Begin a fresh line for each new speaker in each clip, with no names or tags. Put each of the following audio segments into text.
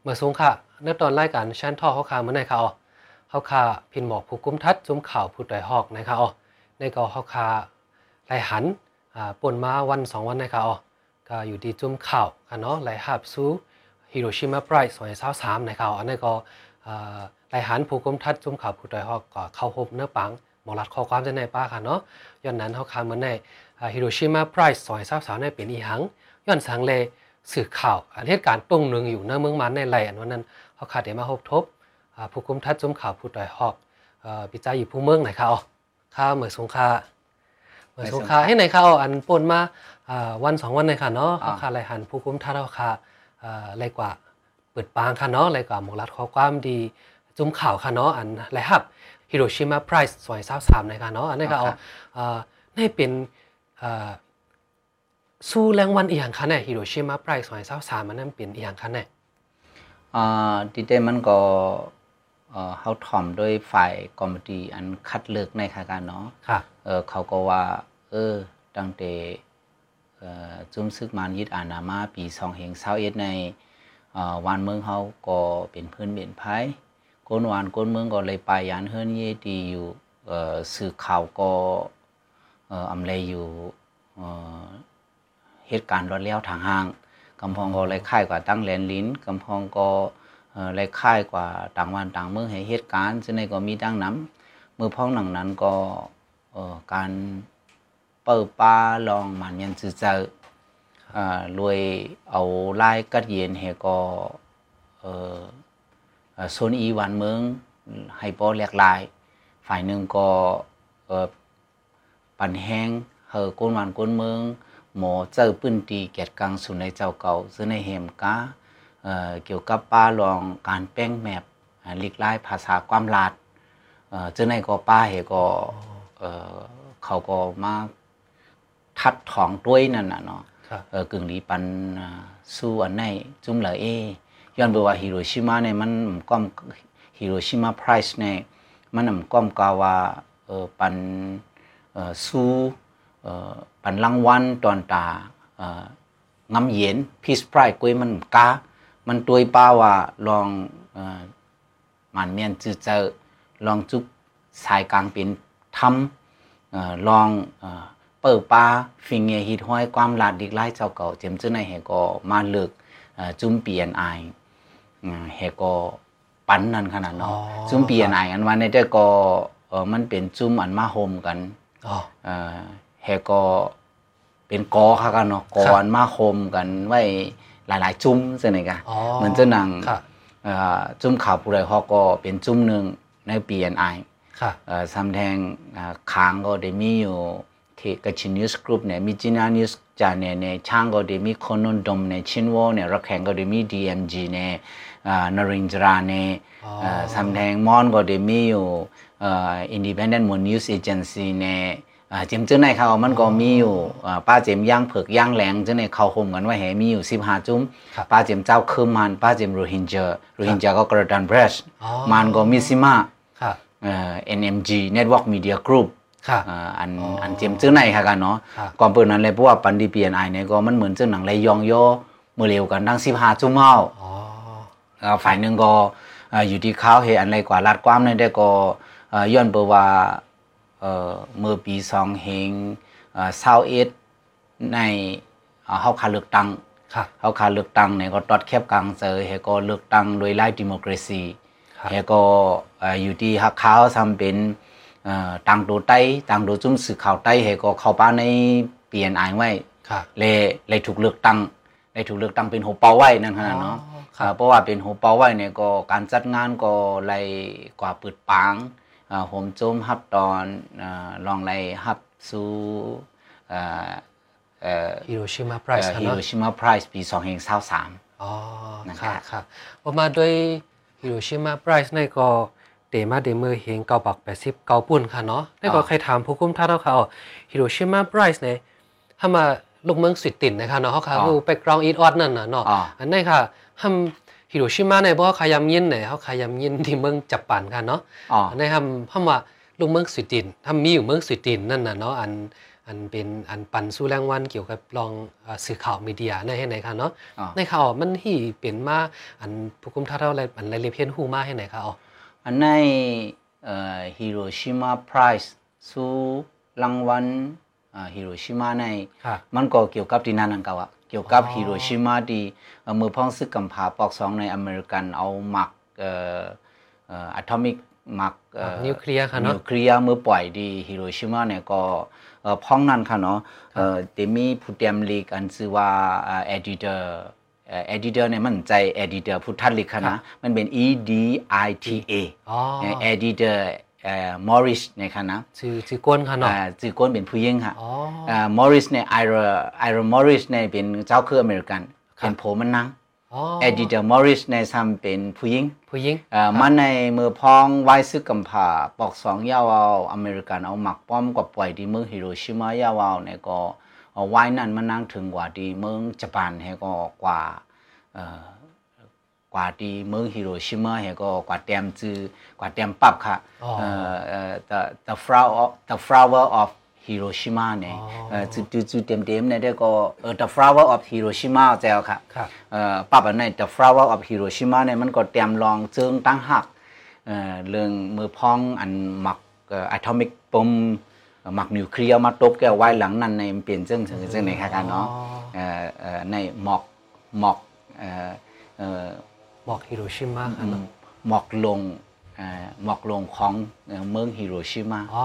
เมื่อสูงค่ะในตอนรายการชั้นท่อเขาคาเหมือนในค่ะอ๋อเขาคาพินหมอกผู้กุมทัดซุ้มข่าวผู้ต่อยหอกในค่ะอ๋อในก็เขาคาไหลหันอ่าป่นมาวันสองวันในค่ะอ๋อก็อยู่ดีจุ้มข่าวค่ะเนาะไหลหับสู้ฮิโรชิมาไพรส์สองพันสามในค่ะอ๋ออันนี้ก็อ่าไหลหันผู้กุมทัดซุ้มข่าวผู้ต่อยหอกก็เข้าพบเนื้อปังหมอรัดข้อความจะในป้าค่ะเนาะย้อนนั้นเขาคาเหมือนใน ฮิโรชิมาไพรส์ซอยสาวสาวในเป็นอีหัง ย้อนสังเลสื่อข่าวอันเหตุการณ์ตรงหนึ่งอยู่ในเมืองมันในไหลอันวันนั้นเขาขาดเดมาพบทบอ่าผู้คุมทัดจุมข่าวผู้ต่อยหอกเอ่อปิจาอยู่ผู้เมืองไหนเขาข้าเหมือสงคาเหมือสงคาให้ไหนเขาอันปนมาอ่าวันสองวันในค่ะเนาะเขา
อ่า
ขาดไหลหันผู้คุมทัดเขาขาเอ่อไรกว่าเปิดปางค่ะเนาะไรกว่าหมกรัดข้อความดีจุมข่าวค่ะเนาะอันไรฮับฮิโรชิมาไพรส์ซอยสาวสามในค่ะเนาะอันนี้ค่ะเอา อ่าได้เป็นอ่าสู้แรงวันอีหยังคันแน่ฮิโรชิมาไพรส์สองพันสามมันนั่นเป็นอีหยังคันแน่
อ่าดีเดมันก็เอ่อเฮาถ่อมด้วยฝ่ายกอมดีอันคัดเลือกในค่ะการเนาะ
ค่ะ
เออเขาก็ว่า เออ ตั้งแต่เอ่อจุ้มซึกมานยิดอานามาปีสองเฮงเศร้าเอ็ดในเอ่อวานเมืองเขาก็เป็นเพื่อนเปลี่ยนไพ่ก้นวานก้นเมืองก็เลยไปยานเฮือนเยดีอยู่เอ่อสื่อข่าวก็เอ่ออำเลยอยู่เอ่อเหตุการณ์รอดแล้วทางห้างกำพองก็เลยค่ายกว่าตั้งแลนลิ้นกำพองก็เอ่อเลยค่ายกว่าต่างวันต่างเมืองให้เหตุการณ์ซึ่งในก็มีตั้งน้ำเมื่อพ้องหนังนั้นก็ เอ่อการเปิดป้าลองมันยันซื้อเจออ่ารวยเอาไล่กัดเย็นเฮก็เอ่อเอ่อโซนอีหวันเมืองให้ปอแหลกลาย ฝ่ายหนึ่งก็เอ่อปั่นแห้งเฮอก้นหวานก้นเมือง หมอเจอปื้นตีเกียรติกลางสุนในเจ้าเก่าซื้อในเหมกาเอ่อเกี่ยวกับป้าลองการแป้งแมพอ่าหลีกไล่ภาษาความลาด เอ่อเจ้าในก็ป้าเหก็เอ่อเขาก็มาทัดถองด้วยนั่นน่ะเนาะ
ครับ
เออกึ่งดีปันอ่าสู้อันไหนจุ่มเหลอเอย้อนไปว่าฮิโรชิมาเนี่ยมันหม่อมก้อมฮิโรชิมาไพรส์เนี่ยมันหม่อมก้อมกาว่าเออปันเอ่อสู้เอ่อปันรางวัลตอนตาเอ่อ งำเย็นพีสไพรกล้วยมันกา มันตวยป้าว่าลองเอ่อหมันเมียนจือเจอลองจุบสายกลางเป็นทำลองเอ่อเปิดป้าฟิงเงฮิดห้อยความลาดดิกไล่เจ้าเก่าเจมจื้อในแหก็มาเลิกเอ่อจุ้มเปลี่ยนอายอืมแหก็ปันนั่นขนาด
อ๋
เนาะ
อ
จุ้มเปลี่ยนอายอันว่าในแต่ก็เอ่อมันเป็นจุ้มอันมาโฮมกัน
อ๋อ
เอ่อแฮก็เป็นกอค่ะกันเนาะ
ค
ก
รับ
อนมาคมกันไว้หลายๆ จุ้มใช่ไหมกัน
อ๋อ
เหมือนเจ้าหนัง
ค่ะ
เอ่อจุ้มข่าวผู้ใดฮอกก็เป็นจุ้มหนึ่งในปีอนไอ
ค่ะ
ซัมแทงอ่าค้างก็ได้มีอยู่ที่กัชินิวส์กรุ๊ปเนี่ยมีจินานิวส์จาเนี่ยเนี่ยช่างก็ได้มีคนนนดมเนี่ยชินวอเนี่ยรักแข่งก็ได้มี DMG เนี่ยอ่านรินจราเนี่ย
อ๋อ
เอ่อซัมแทงมอนก็เดมีอยู่เอินดิพเอนเดนต์มอนนิวส์เอเจนซี่ในเอ่อเจมเจ้าในเขามันก็มีอยู่เอ่อป้าเจมย่างเผือกย่างแหลงเจ้าในเขาห่มกันไว้แหมีอยู่สิบห้าจุ้ม
ครับ
ป้าเจมเจ้าเคืมมันป้าเจมโรฮินเจอร์โรฮินเจอร์ก็กระดันเบรช
อ๋อ
มันก็มิซิมา
ค่ะ
เอ่อ NMG Network Media Group
ค่ะ
เอ่ออัน
อ๋ออั
อันเจมเจ้าในค่ะกันเนาะ
ครับ
ก่อนเปิดนั้นเลยเพราะว่าปันดีเปียนไอเนี่ยก็มันเหมือนเจ้าหนังเลยยองโยเมื่อเร็วกันทั้งสิบห้าจุ้มเอา
อ๋อ
เอ่อฝ่ายหนึ่งก็เอ่ออยู่ที่ข้าวเฮอันไรกว่าลาดความนั่นได้ก็เอ่อย้อนเปว่าเอ่อเมื่อปีสองเฮงเศร้าเอ่อ็ดในเอ่อเฮาคาเลือกตั้ง
ค่ะ
เฮาคาเลือกตั้งเนี่ยก็ตอดแคบกลางเจอเฮก็เลือกตั้งโดยไล่ดิโมกรซี
ครับ
เฮก็เอ่ออยู่ที่ฮักข้าวทำเป็นเอ่อต่างโดไต้ต่างโดจุ่มสื่อข่าวไต้เฮก็เข้าป้าในเปลี่ยนอายไว้
ค่ะ
เลยเลยถูกเลือกตั้งเลยถูกเลือกตั้งเป็นหัวเป้าไว้นั่นขนาดเนาะ
อ๋อครับ
เอ่อเพราะว่าเป็นหัวเป้าไว้เนี่ยก็การจัดงานก็เลยกว่าเปิดปางเอ่อโหมโจมฮับตอนเอ่อลองเลยฮับสู่เอ่อเอ่อ
ฮิโรชิมาไพร
เอ่
ส์
อ
ค่ะ
ฮิ
เนาะ
โรชิมาไพรส์ปี2 0 2 3
อ๋อ
นะครั
ค่ะ
บ
ค่ะประมาณด้วยฮิโรชิมาไพรส์ในก็เดมาเดเมอร์เฮงเกาบักแปดสิบเกาปุ่นค่ะเนาะในก็ใครถามผู้คุ้มท่าเท่าเขาฮิโรชิมาไพรส์เนี่ยถ้ามาลูกเมืองสวิตตินนะคะเนาะเขาค่ะคือไปกรองอีทออดนั่นน่ะเนาะ
อ๋อ
อันนี้ค่ะฮัมฮิโรชิมาในบ่อคายามยินเนี่ยเขาคายามยินที่เมืองจับปันค่ะเนาะ
อ๋อ
อันนี้ฮัมฮัมว่าลูกเมืองสวิตินฮัมมีอยู่เมืองสวิตินนั่นน่ะเนาะอัน อันเป็นอันปันสู้แรงวันเกี่ยวกับลองอ่าสื่อข่าวมีเดียในให้ไหนคะเนาะ
อ๋อ
ในข่าวมันที่เป็นมาอันผู้กุมทัดเท่าไรอันรายละเอียดเพียนหูมาให้ไหนคะอ๋อ
อันในเอ่อฮิโรชิมาไพรส์สู้รางวัลอ่าฮิโรชิมาใน
ค่ะ
มันก็เกี่ยวกับที่นั่นนั่นเก่าอะเกี่ยวกับ
อ๋อ
ฮิโรชิมาดีเอ่อมือพ้องซึกกำผาปอกสองในอเมริกันเอาหมักเอ่อเอ่อะทอมิกหมักเอ่อ
นิวเคลียร์ค่ะเนาะ
นิวเคลียร์เมื่อปล่อยดีฮิโรชิมาเนี่ยก็เอ่อพ้องนั่นค่ะเนาะเอ่อเดมีผู้เตรียมลีกอันชื่อว่าเอ่อดิเตอร์เอ่อดิเตอร์เนี่ยมันใจเอดิเตอร์พุทธลิก
ค
ค่ะ
รั
นะ
บ
มันเป็น E D I T A
อ๋อ
เอดิเตอร์มอริสเนี่ยค่ะนะ
ชื่อชื่อกวนค่ะเนาะ
อ่าจือก้นเป็นผู้ยิ่งค่ะ
อ๋อ
มอริสเนี่ยไอรไอรมอริสเนี่ยเป็นเจ้าคืออเมริกัน
ครับ
เป็นโผมันนัง
อ๋อ
เอดิเตอร์มอริสเนี่ยซ้ำเป็นผู้ยิ่ง
ผู้หญิง
เอ่อมันในมือพองไว้ซึกกำผาปอกสองยาวเอาอเมริกันเอาหมักป้อมกับปล่อยที่เมืองฮิโรชิมายาวเอาเนี่ยก็เอาไว้นั่นมันนั่งถึงกว่าที่เมืองญี่ปุ่นเฮก็กว่าเอ่อกว่าที่เมืองฮิโรชิมาเฮก็กว่าเตรียมจือกว่าเตรียมปรับค่ะ
อ๋อ
เอ่อเอ่อ the the flower of the flower of Hiroshima เนี่ย
อ๋อ
เอ่อจุดจุดจุดเต็มเต็มๆเนี่ยได้ก็เอ่อ the flower of Hiroshima เจ้าค่ะ
ค่ะ
เอ่อปรับอันไหนแต่ Flower of Hiroshima เนี่ยมันก็เตรียมรองเจิงตั้งหักเอ่อเรื่องมือพองอันหมักอะทอมิกปมเอ่อหมักนิวเคลียร์มาตบแก้วไว้หลังนั้นในมันเปลี่ยนเจิงเจิงเจิงในค่ะกันเนาะ
อ๋อ
เอ่อเอ่อในหมอกหมอกเอ่อเอ่อ
บอกฮิโรชิมาค่ะเนาะ
หมอกลงเอ่อหมอกลงของเอ่อเมืองฮิโรชิมา
อ๋อ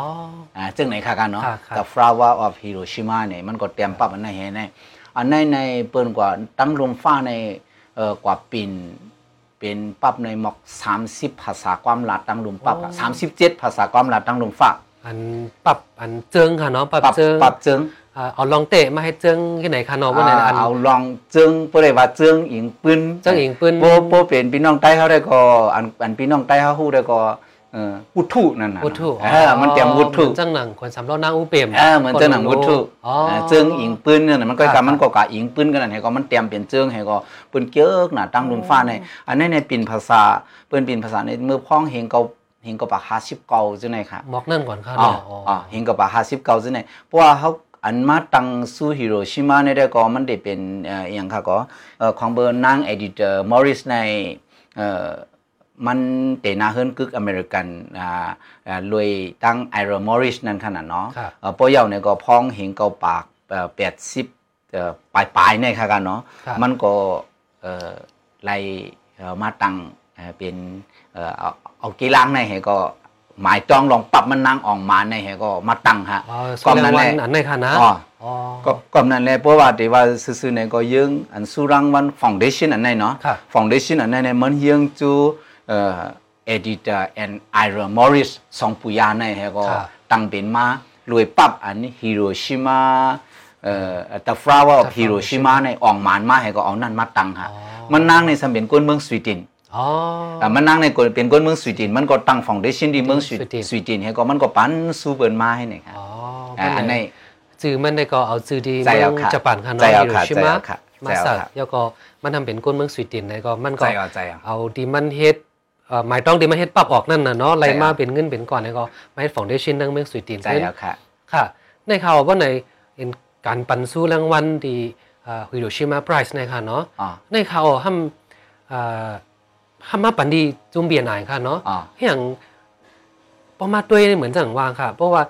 อ่าซึ่งในค่ะกันเนาะ
ค่ะค่ะ
แต่ flower of Hiroshima เนี่ยมันก็เตรียมปรับอันไหนให้ในอันไหนในเปิ้นกว่าตั้งลมฟ้าในเอ่อกว่าปิ่นเป็นปรับในหมอก 30 ภาษาความหลาดตั้งลมปรับอะ
โอ้
37 ภาษาความหลาดตั้งลมฟ้า
อันปรับอันเจิงค่ะเนาะปรับ
ปรับ
เจิง
ปรับจึง
อ่าเอาลองเตะมาให้เจิงที่ไหนคะเนาะว่าไหน
อ่า
อัน
เอาลองจึงบ่ได้ว่าจึงอิงปึ้น
เจิงอิงปึ้น
โบโบเป็นพี่น้องใต้เฮาได้ก็อันอันพี่น้องใต้เฮาฮู้ได้ก็เอ่อวุฒุนั่นน่ะ
วุฒุ
เออมันเตรียมวุฒุ
เหมือนจังหนังคนสำล้อหน้าอูเปม
เออเหมือนเจ้าหนังวุฒุ
อ๋อ
เออเจิงอิงปืนเนี่ยนะมันก็
ครับ
กามันก็กาอิงปืนกันนั่นให้ก็มันเตรียมเป็นเจิงให้ก็ปืนเกี้ยกน่ะตั้งลุมฟ้าในอันนี้ในปิ่นภาษาปืนปิ่นภาษาในมือพ้องเฮงเกาเฮงเกาปากห้าสิบเกาจังไหนค่ะ
มอกนั่นก่อนค่ะ
อ๋อ
เนาะอ๋ออ๋
อ๋
อ
อเฮงเกาปากห้าสิบเกาจังไหนเพราะว่าเขาอันมาตังสู้ฮิโรชิมาเนี่ยได้ก็มันได้เป็นเอ่ออย่างค่ะก็เอ่อของเบอร์นางเอดิเตอร์มอริสในเอ่อมันเตนาเฮิรนกึกอเมริกันอ่าอ่ารวยตั้งไอรอนมอริสนั่นขนาดเนาะ
ค่ะ
เอ่อป้อเยาเนี่ยก็พ้องเห็นเกาปากแปดสิบปลายปลายๆเนี่ยค่ะกันเนาะ
ครับ
มันก็เอ่อไล่เอ่อมาตั้งเอ่อเป็นเอ่อเอาเอากีฬางในให้ก็หมายจองลองปรับมันนางออกมาในให้ก็มาตั้งฮะ
อ๋อ
ก่อนนั้น
แห
แห
ละ
ละ
อันไหนค่ะนะ
อ๋อ
อ๋อ
ก็ก่อนนั้นแหละเพราะว่าที่ว่าซื่อๆเนี่ยก็ยึงอันสุรังวันฟองเดชันอันไหนเนาะ
ครับ
ฟองเดชันอันไหนเนี่ยมันยึงจูเอ่อเอดิเตอร์แอนด์ไอรอนมอริสสองปุยาในให้ก็
ครับ
ตั้งเป็นมารวยปับอันฮิโรชิมาเอ่อตะฟราว่าฮิโรชิมาในอ่องหมานมาให้ก็เอานั่นมาตั้งฮะ
อ๋อ
มันนั่งในสำเป็นก้นเมืองสวีเดน
อ๋อ
อ่ะมันนั่งในก้นเป็นก้นเมืองสวีเดนมันก็ตั้งฝั่งเดชินที่เมืองสวี
สวีเดน
สวีเดนให้ก็มันก็ปั้นสู้เปินมาให้หน่อยครับ
อ๋อ
อ่ะอันใน
จือมันได้ก็เอาจือดี
ใจเอา
เมือง
ค่ะ
จัปันค่ะเนาะ
ใจเอา
ฮิโร
ค่ะ
ชิมะ
ใจเอาค่ะ
มา
ใจเอา
สัก
ค่ะ
แล้วก็มันทำเป็นก้นเมืองสวีเดนได้ก็มัน
ใจ
ก็
เอาใจเอา
เอาดีมันเฮดเอ่อหมายต้องดีมันเฮดปรับออกนั่นน่ะเนาะไล่มาเป็นเงินเป็นก่อนแล้วก็มาเฮ็ดฟองเดชินดังเมืองสวีเดน
ใจ
เพิ่น
เอาค่ะ
ค่ะ ในข่าวว่าในเห็นการปันสู้รางวัลดีฮิโรชิมาไพรส์ในค่ะเนาะ
อ๋อ
ในข่าวห้ามเอ่อห้ามมาปันดีจุมเบียนอ่านค่ะเนาะ
อ๋อ
อย่างประมาทด้วยเหมือนจังวางค่ะ เพราะว่า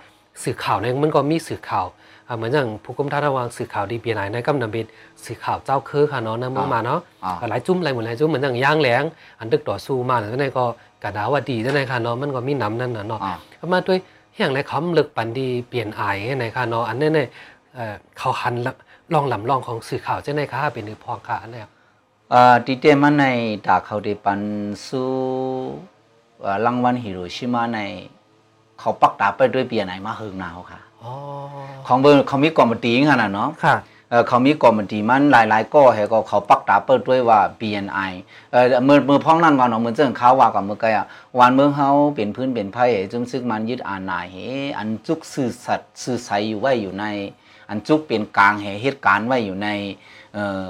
สื่อข่าวเนี่ยมันก็มีสื่อข่าวอ่าเหมือนอย่างผู้กุมท่าระวางสื่อข่าวดีเบียนอ่านในกำนันเป็นสื่อข่าวเจ้าคือค่ะเนาะในเมืองมาเนาะ
อ๋อ
หลายจุ่มหลายหมดหลายจุ่มเหมือนอย่างย่างแหลงอันดึกต่อสู้มาแล้วในก็กระดาว่าดีนั่นในค่ะเนาะมันก็มีน้ำนั่นน่ะเนาะ
อ๋อ
เข้ามาด้วยอย่างไรคำเลึกปันดีเปลี่ยนอายให้ไหนคะเนาะอันนี้เนี่ยเอ่อเขาหันละลองหลำลองของสื่อข่าวเจ้าไหนคะเป็นหรือพองค่ะอันเนี้ย
เอ่อดีเจมันในตาเขาได้ปันสู้เอ่อรางวัลฮิโรชิมาใน เขาปักตาไปด้วยเบียร์ไหนมาเฮิงหนาวค่ะ
อ๋อ
ของเบอร์เขามีกอมตีขนาดเนาะ
ค่ะ
เอ่อเขามีกอมตีมันหลายๆก็ให้ก็เขาปักตาเปิดด้วยว่า BNI เอ่อเมื่อเมื่อพ้องนั่นก่อนเนาะเหมือนเจ้าข้าวว่ากับเมื่อไกอ่ะวันเมืองเฮาเปลี่ยนพื้นเปลี่ยนไพ่จุ่มซึกมันยึดอ่านนายเฮอันจุกสื่อสัตว์สื่อใสอยู่ไว้อยู่ใน อันจุกเป็นกลางแห่เหตุการณ์ไว้อยู่ในเอ่อ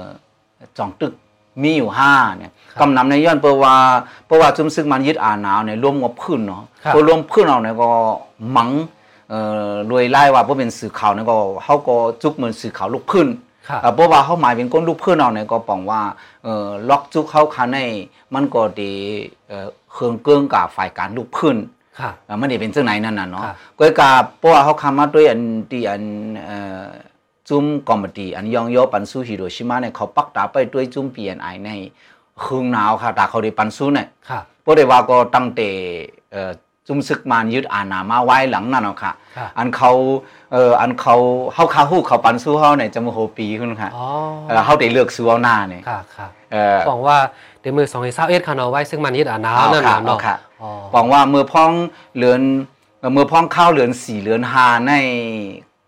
จองตึกมีอยู่ห้าเนี่ย
ครับ
กำนำในย้อนเปรว่าเปรว่าจุ่มซึกมันยึดอ่านหนาวเนี่ยร่วมกับพื้นเนาะ
ครับ
พอร่วมพื้นเอาเนี่ยก็หมัง เอ่อรวยไล่ว่าบ่เป็นสื่อข่าวนั่นก็เฮาก็จุกเหมือนสื่อข่าวลูกพื้น
ค่ะ
เอ่อเพราะว่าเขาหมายเป็นก้นลูกเพื่อนเราเนี่ยก็ปองว่าเอ่อล็อกจุกเข้าคาในมันก็ไดีเครื่องเกื้องกับฝ่ายการลูกเพื่อน
ค่ะ
เอ่อมันได้เป็นเจ้าไหนนั่นน่ะเนาะ
ครับ
ก็กับเพราะว่าเขาคามาด้วยอันที่อันเอ่อจุ้มกอมบดีอันยองโยปันสู้ฮิโรชิมาเนี่ยเขาปักตาไปด้วยจุ้มเปียนไอในเครื่องหนาวค่ะตาเขาได้ปันสู้เนี่ย
ค่ะ
พวกเดว่าก็ตั้งแต่เอ่อจุมศึกมารยึดอาณามาไว้หลังนั่นเนาะค่ะ
ครับ
อันเขาเอ่ออันเขาเฮาคาฮู้เขาปันสู้เฮาเนี่ยจะโมโหปีขึ้นค่ะ
อ๋อ
เอ่อเฮาได้เลือกสู้เอาหน้าเนี่ย
ค่ะค่ะ
เอ่อ
บอกว่าเดี๋ยวมือสองเอเศร้าเอ็ดค่ะเนาะไว้ซึ่งมันยึดอ่านน้ำนั่นน่ะ
เอา
เนาะ
ค่ะ
อ๋อ
บอกว่าเมื่อพ้องเหลือนเอ่อเมื่อพ้องข้าวเหลือนสี่เหลือนหาใน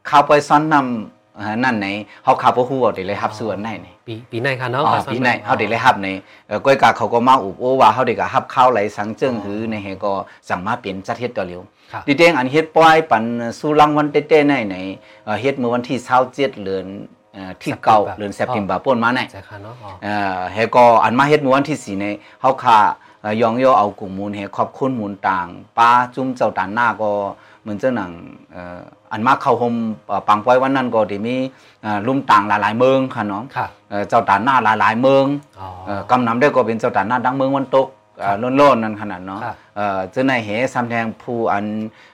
ข้าวไปซ้อนนำเอ่อนั่นไหนเฮาคาบ่ฮู้เอาได้เลยรับสู้อันไหนเนี่ย
ปีปีไหนคะเนาะ
อ๋อ
ขอสมัคร
พี่ใน
อ๋อ
เฮาได้เลยฮับในเอ่อก้อยกาเขาก็มาอุบโอว่าเฮาได้ก็ฮับข้าวไหลสังเจิงหือในเฮก็สั่งมาเป็นจัดเฮ็ดต่อเร็ว
ครับ
ดิเด้งอันเฮ็ดป้อยปันสู้ลังวันเต้ๆในในเอ่อเฮ็ดเมื่อวันที่27เดือนเอ่อที่เก่าเดือนเซปเทมบาป่นมาใน
ใช่ค่ะเนาะอ๋อ
เอ่อเฮก็อันมาเฮ็ดเมื่อวันที่สี่ในเฮาค่าเอ่อยองโยเอากลุ่มมูลเฮขอบคุณมูลต่างป้าจุ้มเจ้าตานหน้าก็เหมือนเจ้าหนังเอ่ออันมาเข้าห่มเอ่อปังป้อยวันนั้นก็ได้มีเอ่อลุ่มต่างหลายๆเมืองค่ะเนาะ
ค่ะ
เอ่อเจ้าตานหน้าหลายๆเมือง
อ๋อ
เอ่อกำนำได้ก็เป็นเจ้าตานหน้าดังเมืองวันตกเอ่อโล้นๆนั่นขนาดเนาะ
ครับ
เอ่อเจ้านายเหซำแทงผู้อัน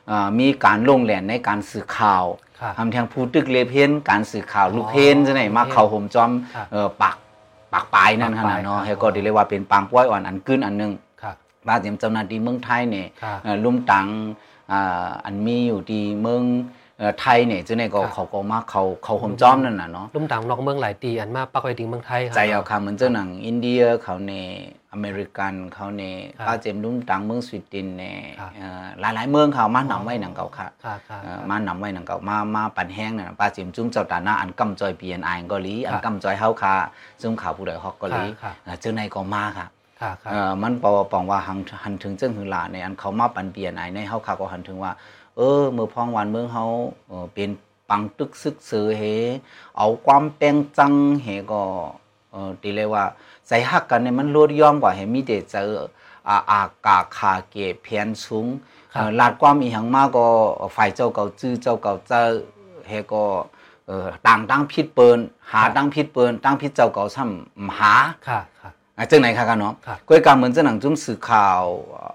เอ่อมีการลงแหลนในการสื่อข่าว
ครับ
ซำแทงผู้ตึกเลเพนการสื่อข่าวลูกเพน
อ๋อ
เจ้านายมาเข้าห่มจอม
ครับ
เอ่อปากปากปลายนั่นขนาดเนาะ
ปากปลาย
เฮาก็ได้เรียกว่าเป็นปางป้วยอ่อนอันกึ้นอันหนึง
ค่ะ
บาดเจ็บเจ้าหน้าที่เมืองไทยเนี่ย
ค่ะ
เอ่อลุ่มตังอ่าอันมีอยู่ที่เมืองเอ่อไทยเนี่ยเจ้าเนี่ยก็
ครับ
เขาก็มาเขาเขาห่มจ้อมนั่นน่ะเนาะ
ลุ่มต่างนอกเมืองหลายตีอันมาปักไว้ดิงเมืองไทยค่ะ
ใจเอาค่ะเหมือนเจ้าหนังอินเดียเขาในอเมริกันเขาใน
ครับ
ป้าเจมลุ่มตังเมืองสวีเดนใน
ครับ
หลายหลายๆเมืองเขามาหนำไว้หนังเก่าค่ะ
ค่ะค่ะ
เอ่อมาหนำไว้หนังเก่ามามาปั่นแห้งน่ะป้าเจมจุ้มเจ้าตาหน้าอันกำจอยเปียนอายก็ลีอั
ครั
น
บ
กำจอยเฮาค่ะซุ่มข่าวผู้ใดฮอกก็ลี
ครับ
เอ่อเจ้าในก็มาค่ะ
ค่ะค่ะ
เอ่อมันปอปองว่าหังหันถึงเจ้าหือหลาในอันเขามาปั่นเปียนอายในเฮาค่ะก็หันถึงว่า เออเมื่อพองวันเมืองเฮาเอ่อเป็นปังตึกซึกเสือเฮ เอาความแปลงจังเฮก็เออตีเลยว่าใจฮักกันเนี่ยมันรวดย่อมกว่าเฮมีแต่เจออาอากาขาเกเพียนสูงเอ่อลาดความอีหังมากก็ฝ่ายเจ้าเก่าจื้อเจ้าเก่าเจ้าเฮก็เออต่างตั้งพิษเปินหาตั้งพิษเปินตั้งพิษเจ้าเก่าซ้ำหา
ค่ะค่ะ
อ่ะจังไหนคะกันเนาะ
ครับ
ก้อยกาเหมือนเจ้าหนังจุ้มสื่อข่าว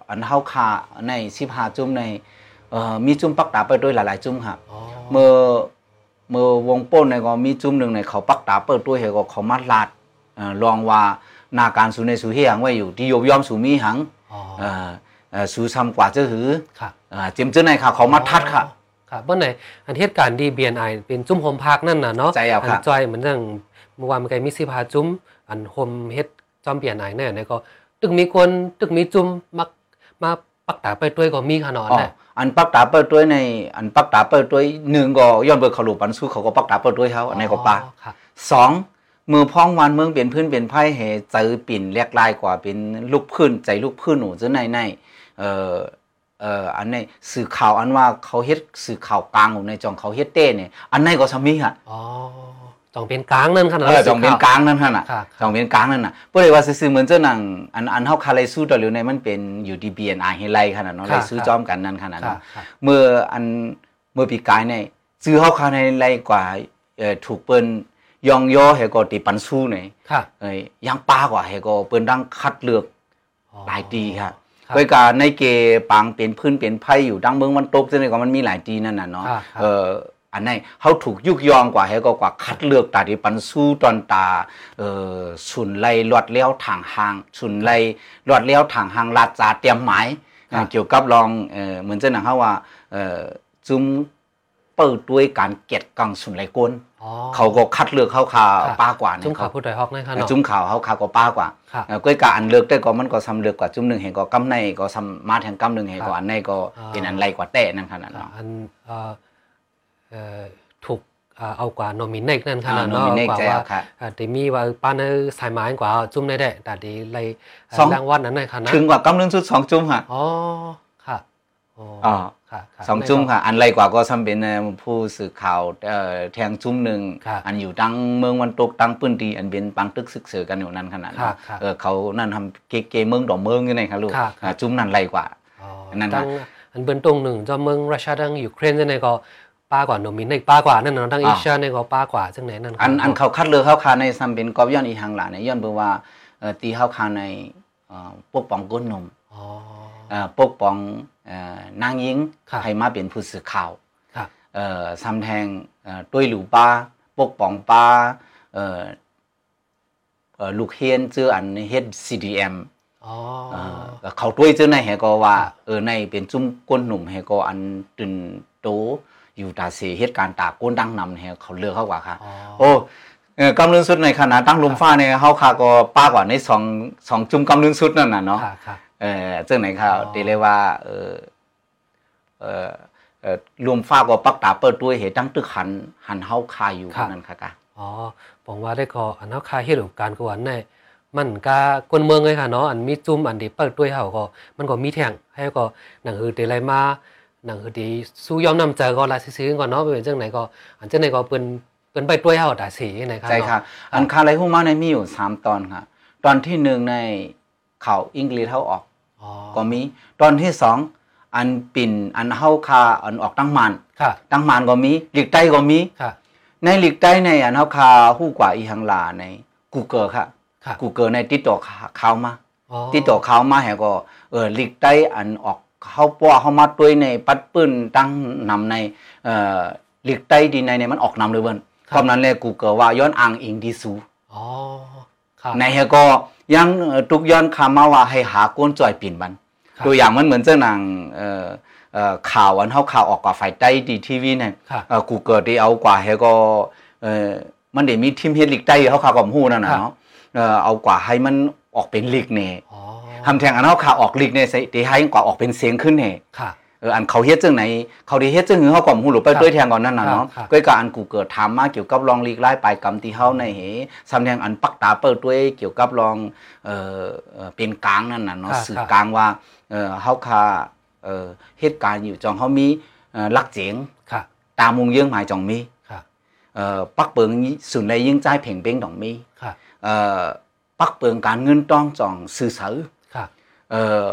อันเฮาค่ะในชิพาจุ้มในเอ่อมีจุ้มปักตาไปด้วยหลายๆจุ้มค่ะ
อ๋อ
เมื่อเมื่อวงโป้นในก็มีจุ้มหนึ่งในเขาปักตาเปิดด้วยเฮาก็เขามาลาดเอ่อลองว่าหนาการสูในสูเฮียงไว้อยู่ที่ยบยอมสูมีหัง
อ๋อ
เอ่อเอ่อสูซ้ำกว่าเจ้าหือ
ค่ะ
อ่าเจมเจ้าไหนค่ะเขามาทัดค่ะ
ค่ะเบื้องในอันเหตุการณ์ดีเบียนไอเป็นจุ้มโฮมพักนั่นน่ะเนาะ
ใช่ครับ
อันจอยเหมือนเรื่องเมื่อวานมันไกมีสิพาจุ้มอันโฮมเฮ็ดจอมเบียนไอเนี่ยเนี่ยก็ตึกมีคนตึกมีจุ้มมักมาปักตาไปด้วยก็มีขนาด
อ๋อ
น่ะ
อันปักตาเปิดด้วยในอันปักตาเปิดด้วยหนึ่งก็ย้อนเบิดเขาหลุปันสู้เขาก็ปักตาเปิดด้วยเขาอันในก็ปา
อ๋อค่ะ
สองมือพ้องวันเมืองเปลี่ยนพื้นเปลี่ยนไพ่เหเจอปิ่นแลกลายกว่าเป็นลูกพื้นใจลูกพื้นหนูจะในในเอ่อเอ่ออันในสื่อข่าวอันว่าเขาเฮ็ดสื่อข่าวกลางของในจองเขาเฮ็ดเต้เนี่ยอันในก็สมีฮะ
อ๋อจองเป็นกลางนั่นขนาด
เออจองเป็นกลางนั่นฮะน่ะ
ค่ะ
จองเป็นกลางนั่นน่ะบ่ได้ว่าซื่อๆเหมือนเจ้าหนังอันอันเฮาคาไลสู้ต่อหรือในมันเป็นอยู่ดี BNI เฮไลขนาดเนาะ
ค่ะ
ไลสู้จอมกันนั่นขนาด
ค่ะ
เนาะ
ค่ะ
เมื่ออันเมื่อปีกายในซื้อเข้าคาในไรกว่าเอ่อถูกเปิ้นยองย่อเฮก็ติปันสู้ใน
ค่ะ
เอ้ยยังป้ากว่าเฮก็เปิ้นดังคัดเลือก
อ๋อ
หลายตีค่ะ
รับ
โดยการในเกปังเป็นพื้นเป็นไพ่อยู่ดังเมืองวันตกจังได๋ก็มันมีหลายตีนั่นน่ะเนาะ
ครับครับ
เอ่ออันไหนเฮาถูกยุกยองกว่าเฮก็กว่าคัดเลือกตาที่ปันสู้ตอนตาเอ่อสุนไล่ลอดเลี้ยวทางหางสุนไล่ลอดเลี้ยวทางหางลาดจาเตรียมหมาย
ครับ
เกี่ยวกับลองเอ่อเหมือนเจ้าหนังเฮาว่าเอ่อจุมเปิดด้วยการเก็ดกังสุนไลกล
อ๋อ
เขาก็คัดเลือกเข้าคา
ครับ
ป้ากว่าเนี่
จุ้ม
ย
ขา
เขา
พูดไดฮอกนะคะเนาะ
จุ้มข่าวเขาคาก็ป้ากว่า
ค่ะ
เอ่อก้อยกาอันเลือกได้ก็มันก็ซ้ำเลือกกว่าจุ่มหนึ่งเห็นก็กำในก็ซ้ำมาแทงกำหนึ่งเห็น
ครั
ก็
บ
อันในก็
อ่า
เป็นอันไรกว่าแต่นั่นขนาด
ค่ะ
เนาะ
อันเอ่อเอ่อถูกเอ่อเอากว่าโนมินเนกนั่นค่ะ
อ่า
เนาะ
nominate
กว่า
ใช่
ว่า
ครับ
เอ่อแต่มีว่าปานเออสายไม้กว่าจุ้มได้ได้แต่ดีไร
สอง
รางวัลนั้นหน่อยค่ะนะ
ถึงกว่ากำหนึ่งชุดสองจุ่มค่ะ
อ๋อค่ะโอ้
อ๋อ
ค่ะค่ะ
สองจุ่มค่ะ อันไรกว่าก็ซ้ำเป็นเอ่อผู้สื่อข่าวเอ่อแทงจุ่มหนึ่ง
ครับ
อันอยู่ตั้งเมืองวันตกตั้งปืนดีอันเป็นปังตึกศึกเสือกันอยู่นั่นขนาด
ครั
เนาะ
บครับ
เออเขานั่นทำเกเกเมืองต่อเมืองอยังไงคะลูก
ครับครับ
อ่าจุ่มนั่นไรกว่า
อ๋อ
นั่นน่ะ
ตั้ง อันเบิ้นตรงหนึ่งเจอมเมืองรัสเซียทางยูเครนจังไหนก็ป้ากว่าโนมินในป้ากว่านั่นเนาะทางเอ
อ่า
เชียในก็ป้ากว่าจังไหนนั่น
อันอันเขาคัดเลือกเข้าคาในซัมเป็นกอบย้อนอีหังหลานเนี่ยย้อนเบอว่าเอ่อตีเข้าคาในเอ่อปกป้องก้นนม
อ๋อ
เอ่อปกป้องเอ่อนางยิง
ครับ
ให้มาเป็นผู้สื่อข่าว
ครับ
เอ่อซัมแทงเอ่อด้วยหลูป้าปกป้องป้าเอ่อเอ่อลูกเฮียนเจออันเฮ็ด CDM
อ๋อ
เอ่อก็เขาด้วยเจ้าในแหก็ว่า
ครับ
เออในเป็นจุ้มก้นหนุ่มแหก็อันตื่นโตอยู่ตาเสเหตุการณ์ตาก้นดังนำแหเขาเลือกเข้ากว่าค่ะ
อ๋อ
โอ้เอ่อกำลังสุดในขณะตั้งลมฟ้าในเฮาค่ะก็ป้ากว่าในสองสองจุ้มกำลังสุดนั่นน่ะเนาะ
ค่ะค่ะ
เออเจ้าไหนค่ะ
อ๋อ
ตีเลยว่าเออเออเอ่อรวมฟ้าก็ปักตาเปิดด้วยเหตุตั้งตึกหันหันเฮาคาอยู่นั่นค่ะกะ
อ๋อผมว่าได้ก็อันเฮาคาเฮ็ดอุปการณ์กวนในมันก็คนเมืองเลยค่ะเนาะอันมีจุ่มอันที่เปิดด้วยเฮาก็มันก็มีแท่งให้ก็หนังหือเตไลมาหนังหือดีสู้ยอมนำใจก็ลาซื้อๆก่อนเนาะเป็นจังไหนก็อันจังไหนก็เปิ้นเปิ้นไปด้วยเฮาตาสีไหนครับ
ใช่ค่ะ อันคาไรฮูมาในยมีอยู่สามตอนค่ะ ตอนที่หนึ่งในข่าวอังกฤษเท่าออก
อ๋อ
ก็มี ตอนที่สองอันปิ่นอันเฮาคาอันออกตั้งมัน
ค่ะ
ตั้งมันก็มีหลีกใต้ก็มี
ค่ะ
ในหลีกใต้ในอันเฮาคาฮู้กว่าอีหังหลาในกูเกิลค่ะ
ค่ะ
กูเกิลในติดต่อข่าวมา
อ๋อ
ติดต่อข่าวมาแหก็เออหลีกใต้อันออกเข้าปัวเข้ามาด้วยในปัดปืนตั้งนำในเอ่อหลีกใต้ดีในเนี่ยมันออกนำเลยเบิ่นคำนั้นเลยกูเกิลว่าย้อนอ่างอิงดีสู
อ๋อค่ะ
ในเฮก็ยังเอ่อทุกย้อนคำมาว่าให้หาก้นจ่อยปิ่นบัน
ครับ
ตัวอย่างมันเหมือนเจ้าหนังเอ่อเอ่อข่าวอันเฮาข่าวออกกว่าฝ่ายใต้ดีทีวีเนี่ย
ค่ะ
เอ่อกูเกิดได้เอากว่าเฮก็เอ่อมันเดี๋ยวมีทีมเฮดลิกใต้เฮาข่าวกับฮู้นั่นน่ะ
ครับ
เนาะเอ่อเอากว่าให้มันออกเป็นลิกเนี่ย
อ๋อ
ทำแทงอันเฮาข่าวออกลิกเนี่ยใส่เดี๋ยวให้กว่าออกเป็นเสียงขึ้นเนี่ย
ค่ะ
เอออันเขาเฮ็ดจังไหนเขาได้เฮ็ดจังหือเฮาก็บ่ฮู้หรือ
ค
ไป
รับ
ด้วยแทงก่อนนั่นน่ะเนาะ
ครับ
ก็ก็อันกูเกิดถามมาเกี่ยวกับรองลีกไล่ปลายกรรมที่เฮาในเหสำแดงอันปักตาเปิดด้วยเกี่ยวกับรองเอ่อเอ่อเป็นกลางนั่นน่ะเนาะ
ครับ
สื่อ
ครับ
กลางว่าเอ่อเฮาค่าเอ่อเหตุการณ์อยู่จองเฮามีเอ่อลักเจ๋ง
ค่ะ
ตามุงเยื่องหมายจองมี
ค่ะ
เอ่อปักเปิงสุนย์ในยิ่งใจายเพ่งเบ้งดองมี
ค่ะ
เอ่อปักเปิงการเงินต้องจองสื่อเสือ
ค่ะ
เอ่อ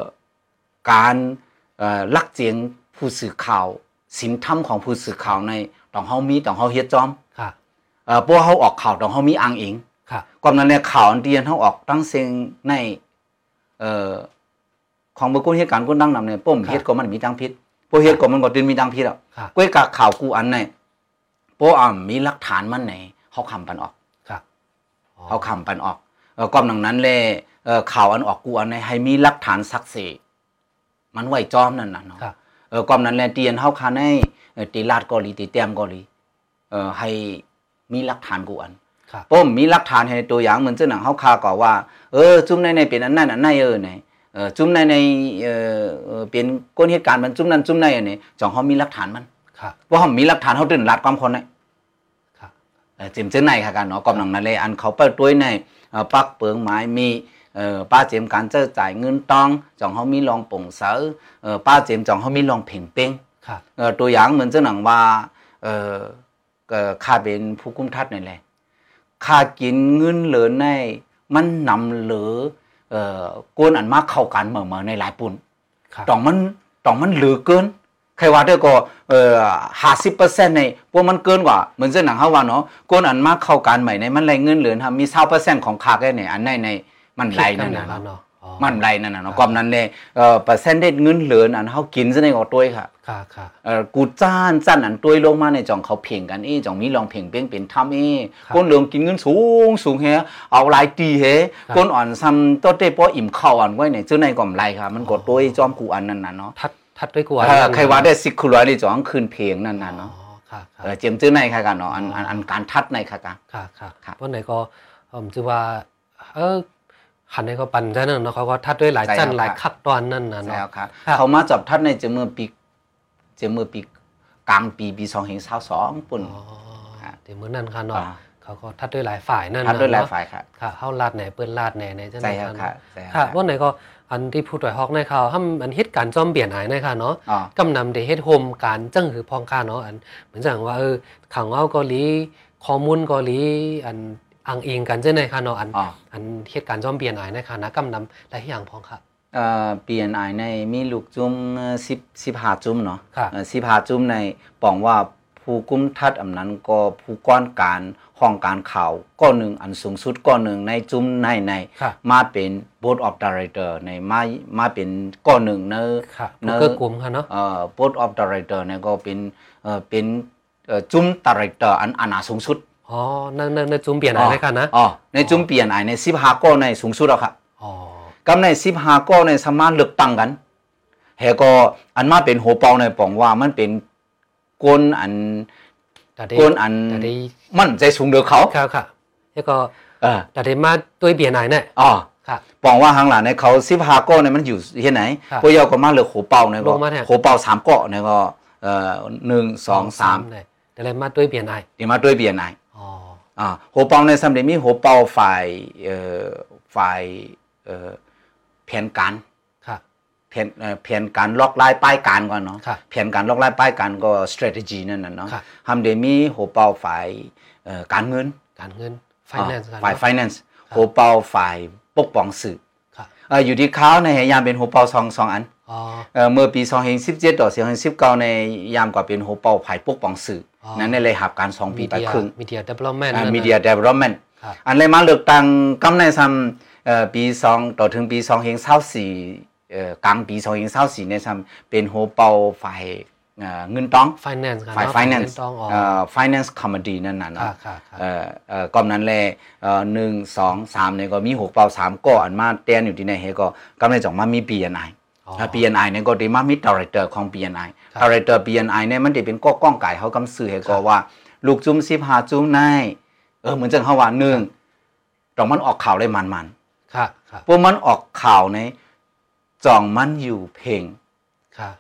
การเอ่อลักเจียงผู้สื่อข่าว สินธรรมของผู้สื่อข่าวในต้องเฮามีต้องเฮาเฮ็ดจอม
ค่ะ
เอ่อพวกเฮาออกข่าวต้องเฮามีอ้างอิง
ค่ะ
ก่อนนั้นเนี่ยข่าวอันเรียนเฮาออกตั้งเสียงในเอ่อของบ่คนเหตุการณ์คนดังนำเนี่ยป้มเฮ็ดก็มันมีทางผิดบ่เฮ็ดก็มันก็ตินมีทางผิดอ่ะ
ค่ะ
ก้อยกะข่าวกูอันในบ่อ่ามีหลักฐานมันไหนเฮาคำปันออก
ค่ะอ๋อ
เอาคำปันออกเออความหนังนั้นเลยเอ่อข่าวอันออกกูอันในให้มีหลักฐานสักเสมันไหวจอมนั่นน่ะเนาะ
ค่ะ
เออความนั้นแลเตียนเฮาคาในเอ่อตีลาดเกาหลีตีเตยมเกาหลีเอ่อให้มีหลักฐานกูอัน
ค่ะ
ป้อมมีหลักฐานให้ตัวอย่างเหมือนเจ้าหนังเฮาคาก็ว่าเออจุ้มในในเป็นอันนั้นอันในเออไหนเออจุ้มในในเอ่อเอ่อเป็นก้นเหตุการณ์มันจุ้มนั้นจุ้มในอันนี้จองเฮามีหลักฐานมัน
ค่ะ
ว่าเฮามีหลักฐานเฮาตื่นลาดความคนไหน
ค่ะ
เอ่อจิมเจ้าในค่ะกันเนาะกำลังนั่นเลยอันเขาเปิดด้วยในเอ่อปักเปิงไม้มีเอ่อป้าเจมการเจ้าจ่ายเงินตองจองเขามีรองป่งเสาเอ่อป้าเจมจองเขามีรองเพ่งเป้ง
ค่ะ
เอ่อตัวอย่างเหมือนเจ้าหนังว่าเอ่อเอ่อข้าเป็นผู้กุ้มทัดนี่แหละข้ากินเงินเหลือในมันนำเหลือเอ่อก้นอันมากเข้ากันเหมือเหมือในหลายปุ่น
ค่ะ
ต่องมันต่องมันเหลือเกิน ใครว่าเด้อก็เอ่อห้าสิบเปอร์เซ็นต์ในพวกมันเกินกว่าเหมือนเส้นหนังเฮาว่าเนาะก้นอันมากเข้าการใหม่ในมันไหลเงินเหลือนะมีเศร้าเปอร์เซ็นต์ของคาแก่ในอันในในมันไหลนั่นน่ะ
ผิดกั
เนาะ
เนาะอ๋อ
มันไหลนั่นน่ะเนาะความนั้นเลยเอ่อเปอร์เซ็นต์ได้เงินเหลืออันเฮากินซะในก็ตัวยค่ะ
ค่ะค่ะ
เอ่อกูจ้านจ้านอันตัวยลงมาในจ่องเขาเพ่งกันเอ้จ่องมีลองเพ่งเป้งเป็นทำเอ้
ครับ
ก้นเหลือกินเงินสูงสูงแฮะเอาหลายตีแฮะก้นอ่อนซ้ำโตเต้ป้ออิ่มข้าวอันไว้ในซื้อในก็ไหลค่ะ มันก็ตัวยจอมกูอันนั้นน่ะเนาะ
ทัดทัดด้วยกวน
เออใครว่าได้สิคุรัวนี่จ้องคืนเพลงนั่นน่ะ
อ๋อ
เนาะ
ค่ะค่ะ
เออเจียมจื้อในค่ะกันเนาะอันอันอันการทัดในค่ะกัน
ค่ะค่ะ
ครับ
วันไหนก็ผมจะว่าเออหันในก็ปั่นได้นั่นเนาะเขาก็ทัดด้วยหลายจันหลายขักตอนนั่นน่ะ
ใช่
เนาะ
แล้วค่ะ
ครับ
เขามาจับทัดในเจามือปีเจามือปีกลางปีปี2022ปุ่น
อ๋อ
ครับ
เดี๋ยวมื้อนั้นค่ะเนาะ
อ่า
เขาก็ทัดด้วยหลายฝ่ายนั่น
ทัด
น่ะ
ด้วยหลาย
เนะ
ฝ่ายค่ะ
ค่ะเฮาลาดไหนเปิ้นลาดไหนในจัง
ใช่
นั้น
แล้วค่ะใช่แล้ว
ค่ะ
ค่ะ
วันไหนก็อันที่ผู้ตรวจฮอกในเขาห้ามอันเฮ็ดการจอมเบียนหายในค่ะเนาะ
อ๋อ
กำนำเดเฮ็ดโฮมการจังหือพองคาเนาะอันเหมือนจังว่าเออข่าวเงาเกาหลีข้อมูลเกาหลีอันอ้างอิงกันเจ้าไหนคะเนาะอัน
อ๋อ
อันเหตุการณ์จอมเปลี่ยนหายนะคะนะกำนำหลายอย่างพองค่ะ
เอ่อ BNI ในมีลูกจุ้ม10 15จุ้มเนาะ
ค่ะ
เอ่อ15จุ้มในปองว่าผู้กุมทัดอำนั้นก็ผู้ก้อนการห้องการข่าวก้อนหนึ่งอันสูงสุดก้อนหนึ่งในจุ้มในใน
ค่ะ
มาเป็น board of director ในมามาเป็นก้อนหนึ่งเนอะ
ค่ะ
เนอะ
เกื้อกลุ่มค่ะเนาะ
เอ่อ board of director เนี่ยก็เป็นเอ่อเป็นเอ่อจุ้ม director อันอันหนาสูงสุด
อ๋อในในในจุ่มเปลี่ยนอะไรค่ะนะ
อ๋อในจุ่มเปลี่ยนไอในสิบห้าก้อนในสูงสุดแล้วครับ
อ๋อ
กับในสิบห้าก้อนในสามารถเลือกตั้งกันแฮก็อันมาเป็นโหเปาในปองว่ามันเป็นกลอัน
แต่ได้
กลอัน
แต่ได้
มั่นใจสูงเดือเขา
ครับค่ะ แล้วก็
เออ
แต่ได้มาด้วยเปลี่ยนอะไรเนี่ย
อ๋อ
ค่ะ
ปองว่าหางหลังในเขาสิบห้าก้อนในมันอยู่ที่ไหน
ครับ
พวกเยาก็มาเลือกโหเปาในก็
ลงมาเนี่ย
โหเปาสามก้อนในก็เอ่อหนึ่งสองสาม
เนี่ยแต่ได้มาด้วยเปลี่ยนอะไร
เดี๋ยวมาด้วยเบียร์ไอ
อ๋อ
อ่าโหเปาในสำเร็จมีโหเปาฝ่ายเอ่อฝ่ายเอ่อแผนการ
ค่ะ
แผนเอ่อแผนการล็อกไล่ป้ายการก่อนเนาะ
ค่ะ
แผนการล็อกไล่ป้ายการก็ strategy นั่นน่ะเนาะ
ค่ะ
ทำเดมีโหเปาฝ่ายเอ่อการเงิน
การเงิน
อ่า
finance กัน
ฝ่าย
เนาะ
finance โหเปาฝ่ายปกป้องสื่อ
ค่ะ
เอ่ออยู่ที่เขาในยยามเป็นโหเปาสองสองอัน
อ๋อ
เอ่อเมื่อปี2017ต่อ2019ในยามกว่าเป็นโหเปาฝ่ายปกป้องสื่ออ
อ
นั้นในเลยหับการสองปีไปครึ่ง
มีเดีย development
อ่า
นั่นน่ะ
media development
ครับ
อันเลยมาเลือกตั้งกำในซ้ำเอ่อปีสองต่อถึงปีสองเฮงเศร้าสี่อกลางปีสองเฮงเศร้าสี่ในซ้ำเป็นโฮเปาฝ่ายเอ่อเงินต้อง
finance กันเนะ
ฝ่าย finance
เงินต้องอ๋อ
เอ่อ finance comedy นั่นน่ะเนาะ
ค่ะค่ะค่ะ
เอ่อเอ่อกอมนั้นแหละเอ่อหนึ่งสองสามเนี่ยก็มีหกเปาสามก็อันมาแตนอยู่ที่ไหนเฮก็กำในจ่องมามี BNI
อ๋อ
ถ้า BNI เนี่ยก็ดีมามิด director ของ BNI
ครับ
director BNI เนี่ยมันจะเป็นก้อก้องไก่เขากำสื่อให้ก็ว่า ลูกจุ้มสิบหาจุ้มในเออเหมือนจังเขาว่าหนึ่งตรงมันออกข่าวได้มันมัน
ค่ะค่ะ
ๆพวกมันออกข่าวในจ่องมันอยู่เพลง
ค่ะ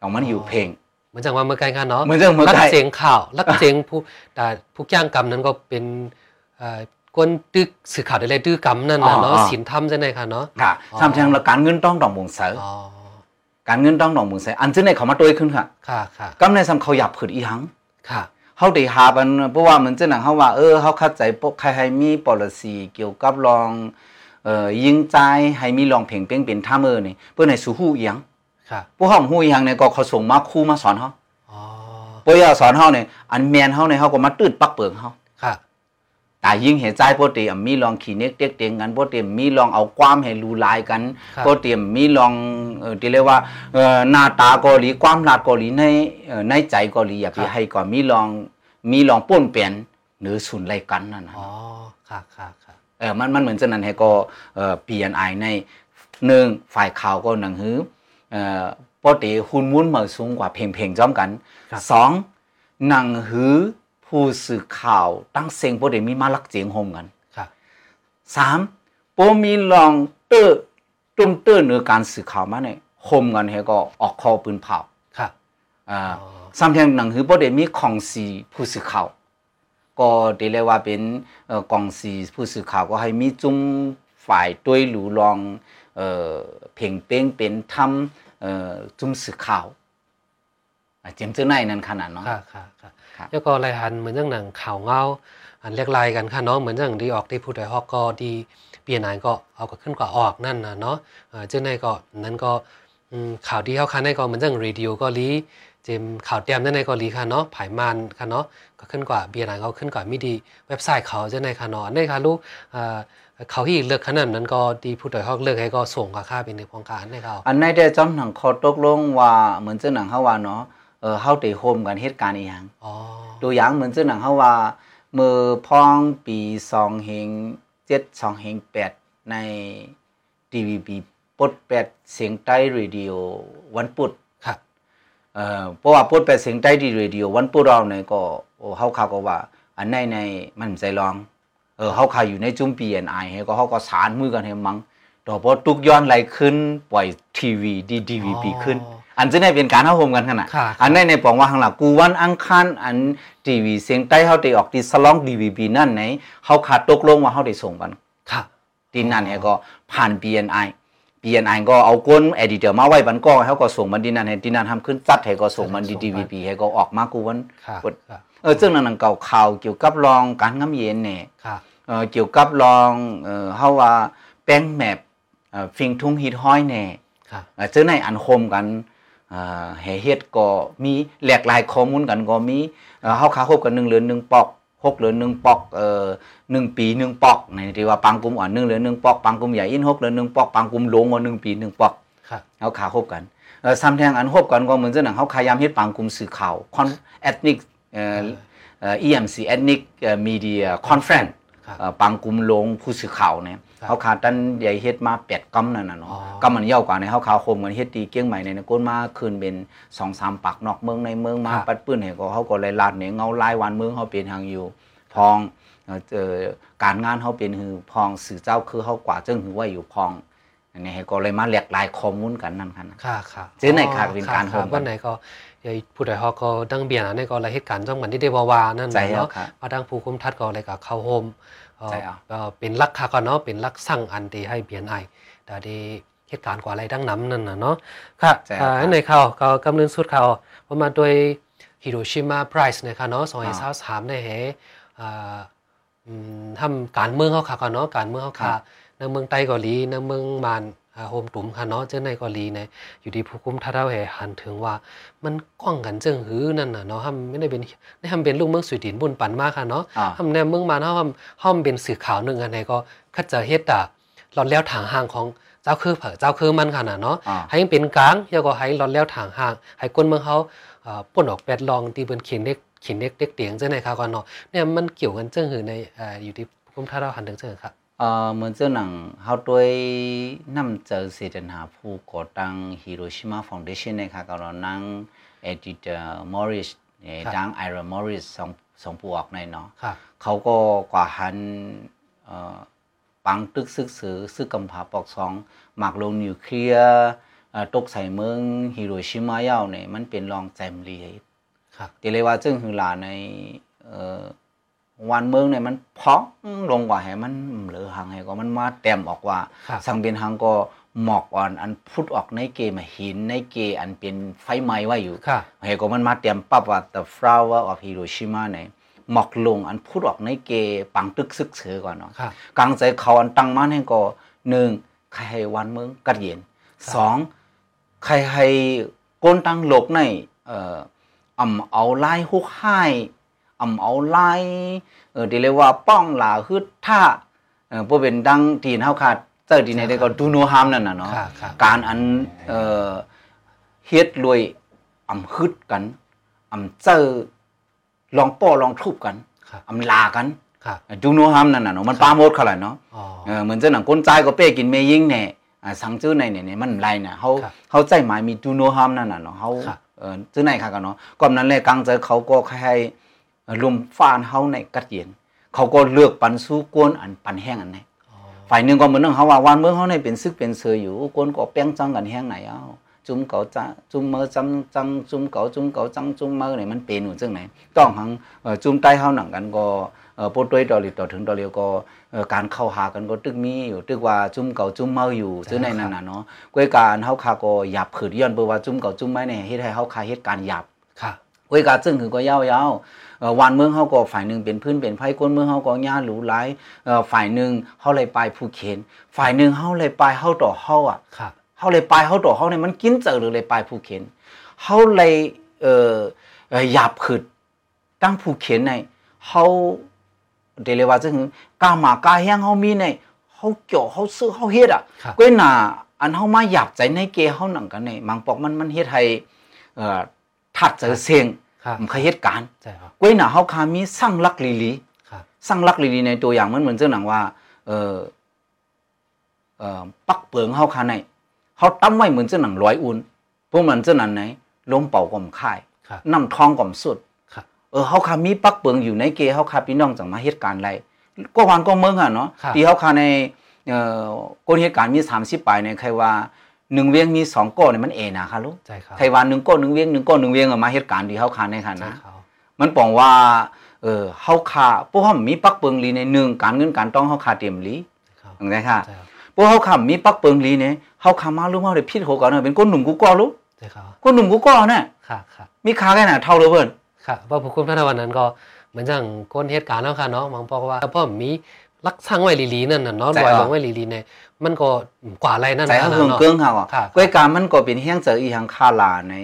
จ่องมันอยู่เพลง
เหมือนจังว่าเมื่อไกลกันเนาะ
เหมือนจังเมื่อ
รัก
ไก่
เสียงข่าวรักเสียงผู้แต่ผู้จ้างกรรมนั้นก็เป็นเอ่อกวนตึกสื่อข่าวได้เลยตื้อกรรมนั่นน่ะเนาะศีลธรรมใช่ไหมคะเนาะ
ค่ะ
อ๋อ
ทำแทงละการเงินต้องดองบงเสา
อ๋อ
การเงินต้องดองบงเสาอันซึ่งในเขามาโดยขึ้นค่ะ
ค่ะค่ะ
กำในซำเขาหยับผืดอีหัง
ค่ะ
เขาได้หาบันเพราะว่ามันจะหนังเขาว่าเออเขาเข้าใจปกใครให้มีปรสีเกี่ยวกับลองเอ่อยิงใจให้มีลองเพ่งเป้งเป็นท่าเมอนี่เพื่อในสู่ฮู้อีหยัง
ค่ะ
พวกเฮาฮู้อีหยังเนี่ยก็เขาส่งมาครู่มาสอนเฮา
อ๋อ
ปอยาสอนเฮาเนี่ยอันแมนเฮาเนี่ยเฮาก็มาตืดปักเปิงเฮา
ค่ะ
แต่ยิ่งเห็นใจโปรตีมีลองขี่เน็กเด็กเตียงกันโปรตีมีลองเอาความให้รู้หลายกัน
ครับ
โปรตีมีลองเอ่อที่เรียกว่าเอ่อหน้าตาเกาหลีความหลาดเกาหลีในเอ่อในใจเกาหลีอยากจะให้ก็มีลองมีลองป้วนเปลี่ยนหรือสูนไล่กันนั่นนะ
อ๋อ ค่ะค่ะค่ะ
เออมันมันเหมือนจะนั้นให้ก็เอ่อ BNI ในหนึ่งฝ่ายข่าวก็หนังหือเอ่อปกติหุ้นมุ้นเหมาสูงกว่าเพลงเพลงๆจ้อมกัน
ครับ
สองหนังหือผู้สื่อข่าวตั้งเสียงปกติมีมาลักเสียงโฮมกัน
ค่ะ
สามโปมีลองเตอร์ตุ้มเตอร์เหนือการสื่อข่าวมาเนี่ยโฮมกันให้ก็ออกคอปืนเผา
ค่ะ
เอ่อ
อ๋อ
ซ้ำแทงหนังคือประเด็นมีของสีผู้สื่อข่าวก็ได้เรียกว่าเป็นเอ่อกองสีผู้สื่อข่าวก็ให้มีจุ้มฝ่ายต้วยหลูลองเอ่อเพ่งเป้งเป็นทำเอ่อจุ้มสื่อข่าวอ่ะเจียมเจ้าในนั้นขนาดเนาะ
ค่ะค่ะค่ะ
ครับ
แล้วก็รายหันเหมือนเรื่องหนังข่าวเงาอันเรียกรายกันค่ะเนาะเหมือนเรื่องดีออกที่พูดไดฮอกก็ดีเปลี่ยนอันก็เอาก็ขึ้นกว่าออกนั่นนะเนาะเอ่อเจ้าในก็นั้นก็อืมข่าวดีเข้าคันในก็เหมือนเรื่องรีดิโอก็ลีเจมข่าวเตรียมเจ้าในก็ลีค่ะเนาะผายมันค่ะเนาะก็ขึ้นกว่าเบียร์นันก็ขึ้นกว่ามิดีเว็บไซต์เขาเจ้าในค่ะเนาะอันนี่ค่ะลูกเอ่อเขาที่เลือกขนาดนั้นก็ดีพูดไดฮอกเลือกให้ก็ส่งกับค่าเป็นในพองการในเขา
ันในได้จอมหนังคอตกลงว่าเหมือนเจ้าหนังเฮาว่าเนาะเออเฮาได้โฮมกันเหตุการณ์อีหยัง
อ๋อ
ตัวอย่างเหมือนเจ้าหนังเขาว่ามือพองปีสองเฮงเจ็ดสองเฮงแปดในทีวีปีปดแปดเสียงใต้เรดิโอวันปุด
ค่ะ
เอ่อเพราะว่าปดแปดเสียงใต้ดีเรดิโอวันปุดเราเนี่ยก็โอ้เขาเขาก็ว่า อันในในมันใจลองเออเขาเขาอยู่ในจุ้มปีเอ็นไอเฮก็เขาก็สารมือกันให้มังต่อพอตุกย้อนไหลขึ้นปล่อยทีวีดีดีวีปีขึ้น
อ๋อ
อันจะได้เป็นการเข้าโฮมกันขนาด
ค่ะ
อันในในปองว่าข้างหลังกูวันอังคารอันทีวีเสียงใต้เฮาได้ออกที่สลองดีวีบีนั่นไหนเฮาขาดตกลงว่าเฮาได้ส่งกัน
ค่ะ
ที่นั่นเนี่ยก็ผ่าน BNI BNI ก็เอาก้นเอดิเตอร์มาไว้บันก้องเฮาก็ส่งมันที่นั่นให้ที่นั่นทำขึ้นจัดให้ก็ส่งมันดีดีวีบีให้ก็ออกมากูวัน
ค่ะ
กด
ค่ะ
เออซึ่งนั่นนังเก่าข่าวเกี่ยวกับรองการงำเย็นเนี่ย
ค่ะ
เออเกี่ยวกับรองเออเฮาว่าแป้งแมพ เอ่อฟิงทุ่งฮิตห้อยแน่
ครับ
เอ่อเจอในอันคมกันเอ่อแห่เฮ็ดก็มีหลากหลายข้อมูลกันก็มีเอ่อเฮาขาคบกันหนึ่งเหลือนหนึ่งปอกหกเหลือนหนึ่งปอกเอ่อหนึ่งปีหนึ่งปอกในที่ว่าปังกลุ่มอ่อนหนึ่งเหลือนหนึ่งปอกปังกลุ่มใหญ่อินหกเหลือนหนึ่งปอกปังกลุ่มหลงอ่อนหนึ่งปีหนึ่งปอก
ครับ
เขาขาคบกันเออซ้ำแทงอันคบกันก็เหมือนเจ้าหนังเขาขายามเฮ็ดปางกลุ่มสื่อข่าวคอนเอทนิกเอ่อเอ่อ EMC Ethnic Media Conference
ครับ
เอ่อปางกลุ่มลงผู้สื่อข่าวเนี่ย
ครับ
เขาขาตันใหญ่เฮ็ดมาแปดกํนั่นน่ะ
อ๋
เนาะ
อ
กํมันยาวกว่าในเขาขาคมกันเฮ็ดตีเกี้ยงใหม่ในนก้นมาคืนเป็นสองสามปักนอกเมืองในเมืองมาปัดปื้นให้ก็เขาก็เลยลาดเนี่ยเงาลายวันเมืองเขาเป็นทางอยู่พองเอ่อเอ่อการงานเขาเป็นหือพองสื่อเจ้าคือเขากว่าจึงหือไว่าอยู่พองอันนี้ให้ก็เลยมาแหลกหลายข้อมูลกันนั่นคันนะ
ค่ะค่ะ
เจ๊ไหนขาดเป็นการ
ค่ะ
โฮม
วันไหนก็เดี๋ยวผู้ใดฮอกก็ดังเบียร์นะในก็รายเหตุการณ์จังหวัดที่ได้วาวานั่น
ใจ
น่ะ
เอา
เนาะ
ครับ
มาดังผู้คุมทัดก็อะไรกับเข้าโฮมเอ่อ
ใจเอา
เอ่อเป็นลักคาก็เนาะเป็นลักสั่งอันที่ให้เบียนไอแต่ได้เหตุการณ์กว่าอะไรดังน้ำนั่นน่ะเนาะค่ะ
ใช่ครับ
อ่าอันไหนข่าวก็กำลังสุดข่าวประมาณโดยฮิโรชิมาไพรส์นะคะเนาะสองพัน
อ่า
สามในเฮอ่าอืมทำการเมืองเขาค่ะก่อนเนาะการเมืองเขา
ครั
ค่ะ
บ
ในเมืองไต้เกาหลีในเมืองมานอ่าโฮมตุ๋มค่ะเนาะเจ้าในเกาหลีเนี่ยอยู่ดีผู้คุมท่าเท้าแห่หันถึงว่า มันก้องกันเจิงหื้อนั่นน่ะเนาะทำไม่ได้เป็นได้ทำเป็นลูกเมืองสวีเดนบุญปันมากค่ะเนาะ
อ่า
ทำในเมืองมานเขาทำห้อมเป็นสื่อข่าวหนึ่งอันไหนก็คัดเจอเฮ็ดอ่ะหลอดแล้วถางห่างของเจ้าคือเผอเจ้าคือมันค่ะน่ะเนาะ
อ่า
ให้ยังเป็นกลางอยาก็ให้หลอดแล้วถางห่างให้คนเมืองเขาเอ่อป่นออกแปดลองตีเบิ้นเขียนเด็กเขียนเด็กเด็กเตียงเจ้าในค่ะก่อนเนาะเนี่ยมันเกี่ยวกันเจิงหื้อในเอ่ออยู่ดีผู้คุมท่าเท้าหันถึงเจ้าค่ะ
เอ่อเหมือนเจ้าหนังเฮาด้วยนำเจอเสถนาผู้ก่อตั้งฮิโรชิมาฟอนเดชั่นในค่ะก็เรานั่งเอดิเตอร์มอริสเนี่ย
ครับ
ดังไอรอนมอริสสองสองผู้ออกในเนาะ
ค่ะ
เขาก็กว่าหันเอ่อปังตึกซึกสือซึกกำผาปอกสองหมากลงนิวเคลียร์เอ่อตกใส่เมืองฮิโรชิมาเย่าเนี่ยมันเป็นรองแจมเลีย
ครับ
ตีเลยว่าจึงหือหลาในเอ่อวันเมืองเนี่ยมันเพราะลงกว่าให้มันเหลือหังให้ก็มันมาเต็มออกว่า
ครับ
สังเบียนหังก็หมอกอ่อนอันพุดออกในเกมาหินในเกอันเป็นไฟไหม้ไว้อยู่
ค่ะ
ให้ก็มันมาเต็มปั๊บว่า the flower of Hiroshima เนี่ยหมอกลงอันพุดออกในเกปังตึกซึกเสือก่อนเนาะ
ค่ะ
กลางใจเขาอันตั้งมั่นให้ก่อหนึ่งใครให้วันเมืองกัดเย็นสองใครให้ก้นตั้งโลกในเอ่ออ่ำเอาไล่ฮุกไห้อ่ำเอาไล่เออเดียวเรียกว่าป้องหลาฮึดท่าเออพวกเป็นดังตีนเฮาขาดเจอดีในได้ก็ดูโนฮามนั่นน่ะเนาะ
ค่ะค่ะ
การอันเอ่อเฮ็ดรวยอ่ำฮึดกันอ่ำเจอลองป้อลองทุบกัน
ครับ
อ่ำลากัน
ค่ะ
จูโนฮัมนั่นน่ะเนาะมันปราโมดเขาแหละเนาะ
อ๋อ
เออเหมือนเจ้าหนังก้นใจายก็เป้กินเมยิ่งเนี่ยอ่าสังจื้อในเนี่ยเนี่ยมันไรน่ะเขา
ครับ
เขาใจหมายมีจูโนฮัมนั่นน่ะเนาะเขา
ครับ
เออจื้อในค่ะกันเนาะก่อนนั้นแหละกลางใจเขาก็ให้ลมฟ้านเฮาในกัดเย็น เขาก็เลือกปันสู้กวนอันปันแห้งอันไหนฝ่ายหนึงก็เหมือนเรื่องเขาว่าวันเมื่อเขาในเป็นซึกเป็นเสืออยู่กวนก็แป้งจังกันแห้งไหนเอ้าจุ่มเก่าจ้าจุ่มเมื่อจังจังจุ่มเก่าจุ่มเก่าจังจุ่มเมื่อเนี่ยมันเป็นอยู่จังไหนต้องหังเอ่อจุ่มใต้เฮาหนังกันก็ เอ่อโปรตุยดอลิดต่อถึงดอเลียวก็เอ่อการเข้าหากันก็ตึกมีอยู่ตึกว่าจุ่มเก่าจุ่มเมาอยู่
ใช่
ซื้อใน
ครับ
นั้นน่ะเนาะก้วยการเฮาคาก็หยับขืดย้อนเปว่าจุ่มเก่าจุ่มไม่เนี่ยเฮ็ดให้เฮาคาเฮ็ดการหยับ
ค่ะ
ก้วยกาซึ่งคือก็ยาวๆเอ่อวันเมืองเฮาก็ฝ่ายหนึงเป็นพื้นเป็นไผก้นเมืองเฮาก็ย่าหรูหลายเอ่อฝ่ายหนึงเฮาเลยไปภูเขนฝ่ายหนึงเฮาเลยไปเฮาต่อเฮาอ่ะ
ค่ะ
เฮาเลยไปเฮาตัวเฮาเนี่ยมันกินเจอหรือเลยไปภูเขียนเฮาเลยเอ่อเอ่อหยาบขึ้นตั้งภูเขียนในเฮาเดยวเลยว่าซึ่งกล้าหมากล้าแห้งเฮามีในเฮาเกี่ยวเฮาซื้อเฮาเฮ็ดอ่ะ
ครับ
ก้วยหน่าอันเฮามาหยาบใจในเกเฮาหนังกันในมังปอกมันมันเฮ็ดให้เอ่อถัดเจอเสียง
ค่ะ
มันเคยเฮ็ดการ
ใช่ครับ
ก้วยหน่าเฮาคามีสร้างลักลีลี
ค่ะ
สร้างลักลีลีในตัวอย่างมันเหมือนเจ้าหนังว่า เออเออปักเปิงเฮาคาในเฮาตั้มไว้เหมือนเจ้าหนังร้อยอุ่นพวกมันเจ้าหนังไหนลมเป่าก่อมค่าย
ครับ
น้ำทองก่อมสุด
ครับ
เออเฮาคามีปักเปิงอยู่ในเกเฮาคาพี่น้องจังมาเหตุการณ์ไรก็วันก็เมืองอ่ะเนาะ
ครับ
ที่เฮาคาในเอ่อก้นเหตุการณ์มี30ปลายในใครว่าหนึ่งเวียงมีสองก้อนเนี่ยมันเอนาค่ะลูก
ใช่ครับ
ใครว่าหนึ่งก้อนหนึ่งเวียงหนึ่งก้อนหนึ่งเวียงอะมาเหตุการณ์ที่เฮาคาในค่ะ
ใช่
นะ
ครับ
มันปองว่า เออเฮาคาพวกเฮามีปักเปิงลีในหนึ่งการเงินการต้องเฮาคาเตรียมลี
ครับ
อย่างไรค่ะ
ใช่ครับ
พวกเฮาคามีปักเปิงลีเนี่ยเฮาคามารู้ว่าได้ผิดโหกันเนอะเป็นคนหนุ่มกูก่อรู้
ใช่ครับ
คนหนุ่มกูก่อน่ะ
ค่ะค่ะ
มีคาแค่ไหนเท่าเลยเพิ่น
ค่ะว่าผู้คุมท่านวันนั้นก็เหมือนอย่างก้นเหตุการณ์แล้วค่ะเนาะหมองบอกว่าพ่อมี ลักช่างไว้หลีๆนั่นน่ะเนาะ
ใช่
ลอย
อ่ะ
ลงไว้หลีๆเนี่ยมันก็กว่าอะไรนั่น
ใจ
นะ
เขา
เนาะ
เฮิงเกิ้งเขาอ่ะ
ค่ะ
ก้วยการมันก็เป็นเฮี้ยงเจออีทางคาลาใน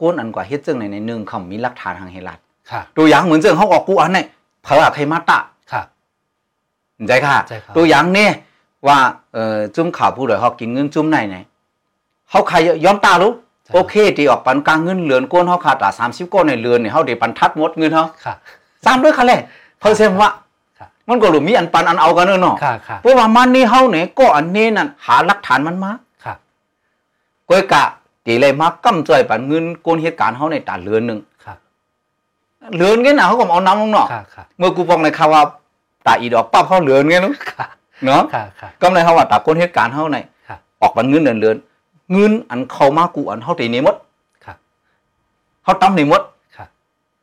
ก้นอันกว่าเฮ็ดจึงในในหนึ่งเขามีหลักฐานทางเฮลัด
ค่ะ
ตัวอย่างเหมือนเจิงเขาออกกูอันในเผาใครมาตะ
ค่ะ
เห็นใจค่ะ
ใช่ครับ
ตัวอย่างเนี่ยว่าเอ่อจุ้มข่าวผู้โดยเขากินเงินจุ้มในไหนเขาใครยอมตารู้โอเคตีออกปันกลางเงินเหลือนก้นเขาขาดตาสามสิบก้อนในเรือนเนี่ยเขาเดี๋ยวปันทัดหมดเงินเขา
ค่ะ
สามด้วยคันเลยเพราะเช่นว่า
ค่ะ
มันก็หลุมมีอันปันอันเอากันเนอะเนาะ
ค่ะค่ะ
เพราะว่ามันนี่เขาเนี่ยก็อันนี้นั่นหาหลักฐานมันมา
ค่ะ
ก้อยกะตีเลยมากำจ่อยปันเงินโกนเหตุการณ์เฮาในตาเรือนหนึง
ค่ะ
เรือนเงี้ยน่ะเขาก็เอาน้ำลงเนาะ
ค่ะค่ะ
เมื่อกูฟังเลยครับว่าตาอีดอกปั๊บเขาเรือนเงี้ยเนอะ
ค่ะ
เนาะ
ค่ะค่ะ
กำเลยเขาว่าตาโกนเหตุการณ์เฮาใน
ค่ะ
ออกปันเงินเดือนเรือนเงินอันเข้ามากูอันเฮาตีนี่หมด
ค่ะ
เฮาตำนี่หมด
ค่ะ